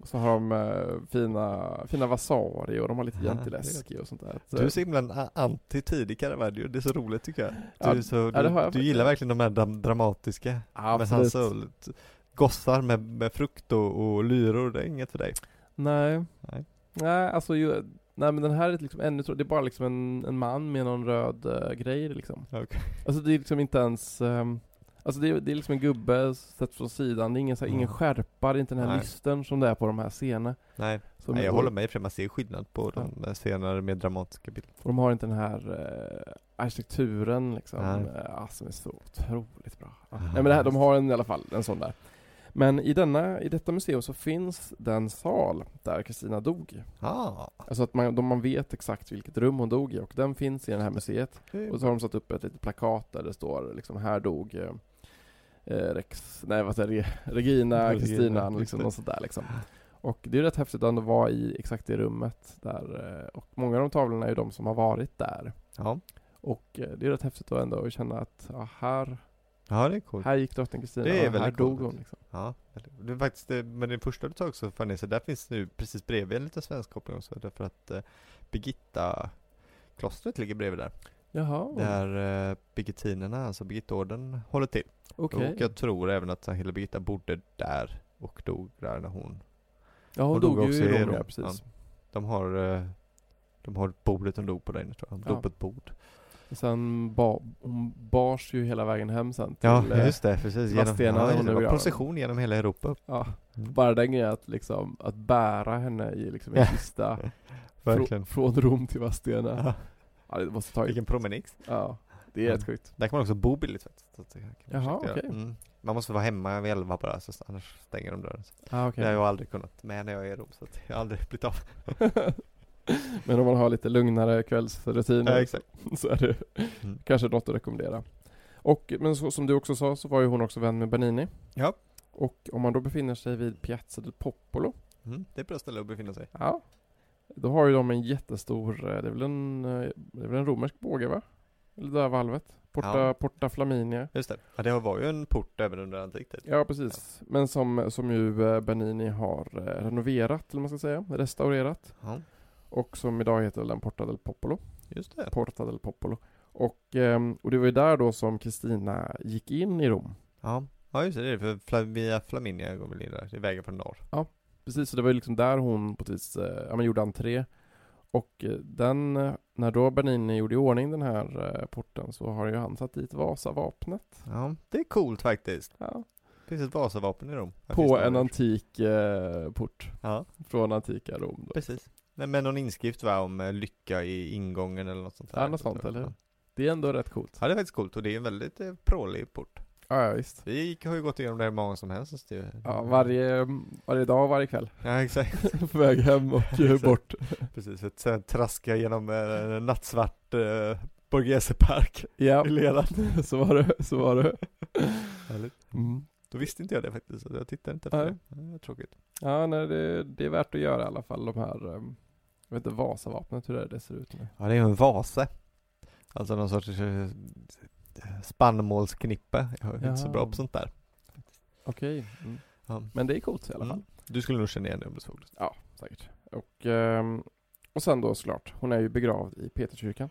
Speaker 1: Och så har de eh, fina, fina Vasari och de har lite
Speaker 2: Ja,
Speaker 1: Jantileski och sånt där. Så,
Speaker 2: Du är så himla en a- anti-tidig Caravaggio, det är så roligt tycker jag.
Speaker 1: Ja,
Speaker 2: Du, är så,
Speaker 1: ja, det har
Speaker 2: du,
Speaker 1: jag
Speaker 2: du gillar verkligen de här dam- dramatiska,
Speaker 1: ja,
Speaker 2: med hans
Speaker 1: absolut.
Speaker 2: soul. Gossar med, med frukt och, och lyror, det är inget för dig.
Speaker 1: Nej.
Speaker 2: Nej.
Speaker 1: Nej, alltså ju, nej men den här är liksom ännu tro- det är bara liksom en, en man med någon röd eh, grej liksom.
Speaker 2: Okej.
Speaker 1: Alltså det är liksom inte ens, ehm, alltså det är, det är liksom en gubbe sett från sidan, det är ingen, så här, ingen
Speaker 2: Mm.
Speaker 1: skärpa, det är inte den här
Speaker 2: Nej.
Speaker 1: lystern som det är på de här scenerna.
Speaker 2: Nej,
Speaker 1: Som-
Speaker 2: Nej jag
Speaker 1: och-
Speaker 2: håller med i och för sig. man ser skillnad på
Speaker 1: Ja.
Speaker 2: de där senare mer dramatiska bilderna.
Speaker 1: Och de har inte den här eh, arkitekturen liksom,
Speaker 2: Nej.
Speaker 1: eh, ah, som är så otroligt bra. Ja.
Speaker 2: Aha,
Speaker 1: Nej men det här, de
Speaker 2: just.
Speaker 1: har en i alla fall, en sån där. Men i, denna, i detta museum så finns den sal där Kristina dog.
Speaker 2: Ah,
Speaker 1: Alltså att man, de, man vet exakt vilket rum hon dog i och den finns i det här museet.
Speaker 2: det är
Speaker 1: Och så har de satt upp ett litet plakat där det står liksom här dog eh, eh, Rex, nej vad säger jag, Re- Regina,
Speaker 2: Regina,
Speaker 1: Kristina,
Speaker 2: just
Speaker 1: liksom
Speaker 2: det.
Speaker 1: något sånt där liksom. Och det är rätt häftigt att ändå vara i exakt det rummet där. eh, Och många av de tavlorna är ju de som har varit där.
Speaker 2: Ja.
Speaker 1: Och eh, det är rätt häftigt att ändå känna att ja, här,
Speaker 2: ja, det är coolt.
Speaker 1: här gick drottning Kristina
Speaker 2: Det är
Speaker 1: och här
Speaker 2: väldigt
Speaker 1: dog
Speaker 2: coolt.
Speaker 1: hon. Liksom.
Speaker 2: Ja, väldigt- det är faktiskt, eh, men det första du tar också Farnese, där finns nu precis bredvid en liten svensk koppling också, därför att eh, Birgitta klostret ligger bredvid där.
Speaker 1: Jaha,
Speaker 2: Där eh, Birgittinerna, alltså Birgittorden, håller till.
Speaker 1: okej.
Speaker 2: Och jag tror även att Sahila Birgitta bodde där och dog där när hon
Speaker 1: Ja, hon,
Speaker 2: hon
Speaker 1: dog,
Speaker 2: dog
Speaker 1: ju
Speaker 2: också i
Speaker 1: i Rom,
Speaker 2: Rom.
Speaker 1: ja, precis.
Speaker 2: De har eh, De har bordet hon dog på där inne tror jag, hon
Speaker 1: Ja.
Speaker 2: dog på ett bord
Speaker 1: Och Sen ba, hon bars ju hela vägen hem sen till...
Speaker 2: Ja
Speaker 1: eh,
Speaker 2: just det, precis, genom,
Speaker 1: Vadstena
Speaker 2: ja,
Speaker 1: hon
Speaker 2: just det
Speaker 1: nu
Speaker 2: var
Speaker 1: gör.
Speaker 2: procession genom hela Europa
Speaker 1: ja.
Speaker 2: Mm.
Speaker 1: Bara den grejen att liksom, att bära henne i liksom en
Speaker 2: Ja,
Speaker 1: kista frå,
Speaker 2: Verkligen
Speaker 1: från Rom till Vadstena.
Speaker 2: ja.
Speaker 1: Ja, det måste ta
Speaker 2: Vilken promenix
Speaker 1: Ja, det är rätt
Speaker 2: Ja.
Speaker 1: sjukt.
Speaker 2: Där kan man också bo billigt faktiskt så att det kan man
Speaker 1: Jaha,
Speaker 2: försöka göra.
Speaker 1: okej.
Speaker 2: mm. Man måste vara hemma vid elva bara, så annars stänger de dörren så.
Speaker 1: Ah,
Speaker 2: Det har jag aldrig kunnat med när jag är i Rom, så att jag har aldrig blivit av
Speaker 1: Men om man har lite lugnare kvällsrutiner
Speaker 2: Ja, exakt.
Speaker 1: så är det
Speaker 2: Mm.
Speaker 1: kanske något att rekommendera. Och, men så, som du också sa så var ju hon också vän med Bernini.
Speaker 2: Ja.
Speaker 1: Och om man då befinner sig vid Piazza del Popolo
Speaker 2: mm. Det är ett bra ställe att befinna sig
Speaker 1: Ja. Då har ju de en jättestor, eh, det är väl en, eh, det är väl en romersk båge va? Eller det där valvet? Porta,
Speaker 2: Ja.
Speaker 1: Porta Flaminia.
Speaker 2: Just det, ja, det var ju en port även under antiktid
Speaker 1: Ja precis. Men som, som ju eh, Bernini har eh, renoverat, eller vad man ska säga, restaurerat.
Speaker 2: Ja,
Speaker 1: Och som idag heter väl den Porta del Popolo.
Speaker 2: just det
Speaker 1: Porta del Popolo. Och, ehm, och det var ju där då som Kristina gick in i Rom.
Speaker 2: Ja, ja just det, det är för Fla- via Flaminia går väl in där, det är vägen från norr.
Speaker 1: Precis, så det var ju liksom där hon på ett vis, eh, ja men gjorde entré. Och eh, den, eh, när då Bernini gjorde i ordning den här eh, porten så har ju han satt dit Vasavapnet.
Speaker 2: Ja, det är coolt faktiskt.
Speaker 1: Ja.
Speaker 2: Det finns ett Vasavapen i Rom. Här finns
Speaker 1: På
Speaker 2: det
Speaker 1: en
Speaker 2: väl.
Speaker 1: antik eh, port
Speaker 2: Ja,
Speaker 1: från antika Rom. Då.
Speaker 2: precis. Nej men någon inskrift va om eh, lycka i ingången eller något sånt där.
Speaker 1: Ja, något sånt, eller hur? Det är ändå rätt coolt.
Speaker 2: Ja det är faktiskt coolt och det är en väldigt eh, prålig port.
Speaker 1: Ja, ja visst.
Speaker 2: Vi gick- har ju gått igenom det hur många som helst. så det-
Speaker 1: Ja, varje, varje dag och varje kväll.
Speaker 2: Ja exakt,
Speaker 1: På väg hem och eh, bort.
Speaker 2: precis. Ett sånt här traska genom eh, nattsvart eh, Borghesepark
Speaker 1: Ja,
Speaker 2: i leran.
Speaker 1: så var det. Så var det.
Speaker 2: Härligt.
Speaker 1: Mm.
Speaker 2: Då visste inte jag det faktiskt, så jag tittade inte efter
Speaker 1: Nej.
Speaker 2: det. Ja, det. var Tråkigt.
Speaker 1: Ja, nej, det, det är värt att göra i alla fall de här, eh, jag vet inte, Vasavapnet, hur det, är det ser ut nu.
Speaker 2: Ja, det är ju en vase. Alltså någon sorts eh, spannmålsknippe. Jag är inte så
Speaker 1: Jaha.
Speaker 2: bra på sånt där.
Speaker 1: Okej. Mm.
Speaker 2: Ja.
Speaker 1: Men det är coolt i alla fall.
Speaker 2: Mm. Du skulle nog känna igen det om du såg det.
Speaker 1: Ja, säkert. Och, ehm, och sen då såklart, hon är ju begravd i Peterskyrkan.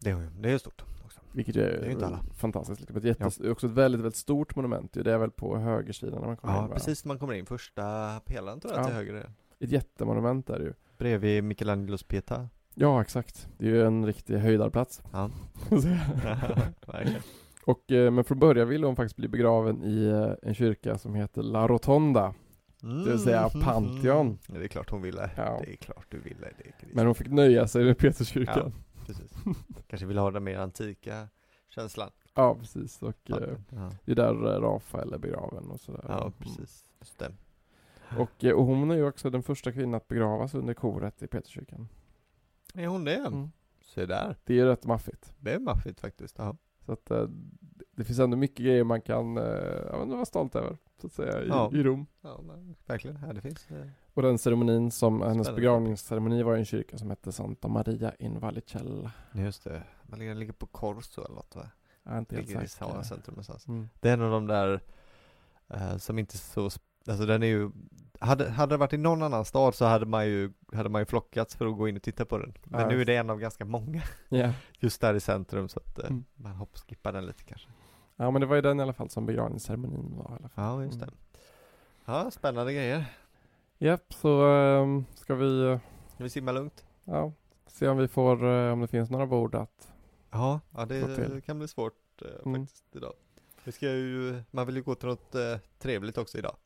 Speaker 2: Det är ju- det är ju stort också.
Speaker 1: Vilket ju är,
Speaker 2: Det är ju inte alla.
Speaker 1: fantastiskt. Liksom. Ett jättes- Också ett väldigt, väldigt stort monument. ju. Det är väl på högersidan när man kommer
Speaker 2: Ja,
Speaker 1: in. va?
Speaker 2: precis när man kommer in. Första pelaren tror jag
Speaker 1: Ja.
Speaker 2: till höger. är.
Speaker 1: Ett jättemonument är det ju.
Speaker 2: Bredvid Michelangelos Pietà.
Speaker 1: Ja, exakt. Det är ju en riktig höjdarplats.
Speaker 2: Ja.
Speaker 1: Så-
Speaker 2: Verkligen.
Speaker 1: och, eh, men från början ville hon faktiskt bli begraven i eh, en kyrka som heter La Rotonda. Det vill säga
Speaker 2: Mm.
Speaker 1: Pantheon.
Speaker 2: Ja, det är klart hon ville.
Speaker 1: Ja.
Speaker 2: Det är klart du ville. Det är gris.
Speaker 1: Men hon fick nöja sig med Peterskyrkan. Ja,
Speaker 2: Precis. Kanske ville ha den mer antika känslan.
Speaker 1: precis. Och eh,
Speaker 2: Ja,
Speaker 1: det är där eh, Rafael är begraven och sådär.
Speaker 2: ja
Speaker 1: Mm.
Speaker 2: precis. Just det.
Speaker 1: Och, eh, och hon är ju också den första kvinnan att begravas under koret i Peterskyrkan.
Speaker 2: Är hon det?
Speaker 1: Mm.
Speaker 2: Se där.
Speaker 1: Det är ju rätt maffigt.
Speaker 2: Det är maffigt faktiskt. Ja.
Speaker 1: Så att eh, det finns ändå mycket grejer man kan eh, ja, men vara stolt över, så att säga, i,
Speaker 2: Ja.
Speaker 1: i Rom.
Speaker 2: Ja, men verkligen. Ja, det finns. eh,
Speaker 1: Och den ceremonin som, eh, hennes
Speaker 2: Spännande.
Speaker 1: begravningsceremoni var i en kyrka som hette Santa Maria in Vallicella.
Speaker 2: Just det. Man ligger, ligger på Corso eller något va?
Speaker 1: Jag är inte helt
Speaker 2: Ligger i
Speaker 1: säker.
Speaker 2: Sana centrum någonstans.
Speaker 1: Mm.
Speaker 2: Det är en av de där eh, som inte så, sp- alltså den är ju hade, hade det varit i någon annan stad så hade man ju, hade man ju flockats för att gå in och titta på den. Men
Speaker 1: Ja,
Speaker 2: nu är
Speaker 1: just.
Speaker 2: det en av ganska många
Speaker 1: Ja.
Speaker 2: just där i centrum så att eh,
Speaker 1: Mm.
Speaker 2: man hoppskippar den lite kanske.
Speaker 1: ja, men det var ju den i alla fall som begravningsceremonin var i alla fall.
Speaker 2: Ja, just det.
Speaker 1: Mm.
Speaker 2: Ja, spännande grejer.
Speaker 1: Japp, så ehm, ska vi eh,
Speaker 2: Ska vi simma lugnt?
Speaker 1: ja, se om vi får, eh, om det finns några bord att,
Speaker 2: Ja, ja det
Speaker 1: Gå till.
Speaker 2: kan bli svårt eh,
Speaker 1: Mm.
Speaker 2: faktiskt idag. Vi ska ju, man vill ju gå till något eh, trevligt också idag.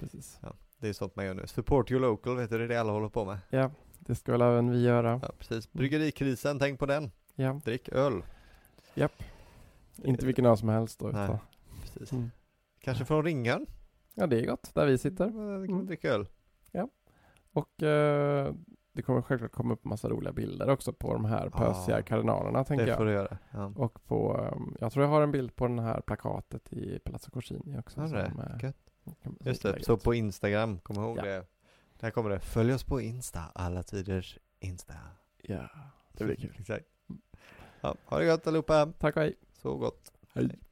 Speaker 1: precis.
Speaker 2: Det är sånt man gör nu. Support your local, vet du, det är det alla håller på med.
Speaker 1: Ja, det ska väl även vi göra.
Speaker 2: Ja, precis. Bryggerikrisen, tänk på den.
Speaker 1: Ja,
Speaker 2: Drick öl.
Speaker 1: inte vilken öl som helst då.
Speaker 2: Nej.
Speaker 1: Utan,
Speaker 2: Precis.
Speaker 1: mm.
Speaker 2: Kanske från ringan.
Speaker 1: Ja, det är gott där vi sitter. Mm.
Speaker 2: Mm. Drick öl.
Speaker 1: Och eh, det kommer självklart komma upp massa roliga bilder också på de här
Speaker 2: Ja.
Speaker 1: pösiga kardinalerna tänker
Speaker 2: det
Speaker 1: jag.
Speaker 2: får du göra. Ja.
Speaker 1: Och på, ehm, jag tror jag har en bild på den här plakatet i Palazzo Corsini också.
Speaker 2: Har du det?
Speaker 1: eh,
Speaker 2: Gött.
Speaker 1: kan- som
Speaker 2: Just
Speaker 1: är
Speaker 2: det,
Speaker 1: gött.
Speaker 2: så på Instagram, kom ihåg
Speaker 1: Ja.
Speaker 2: det. Där kommer det. Följ oss på Insta, alla tiders Insta.
Speaker 1: Ja, det blir kul.
Speaker 2: Exakt. Ja, ha det gött allihopa.
Speaker 1: Tack och hej.
Speaker 2: Sov gott.
Speaker 1: Hej.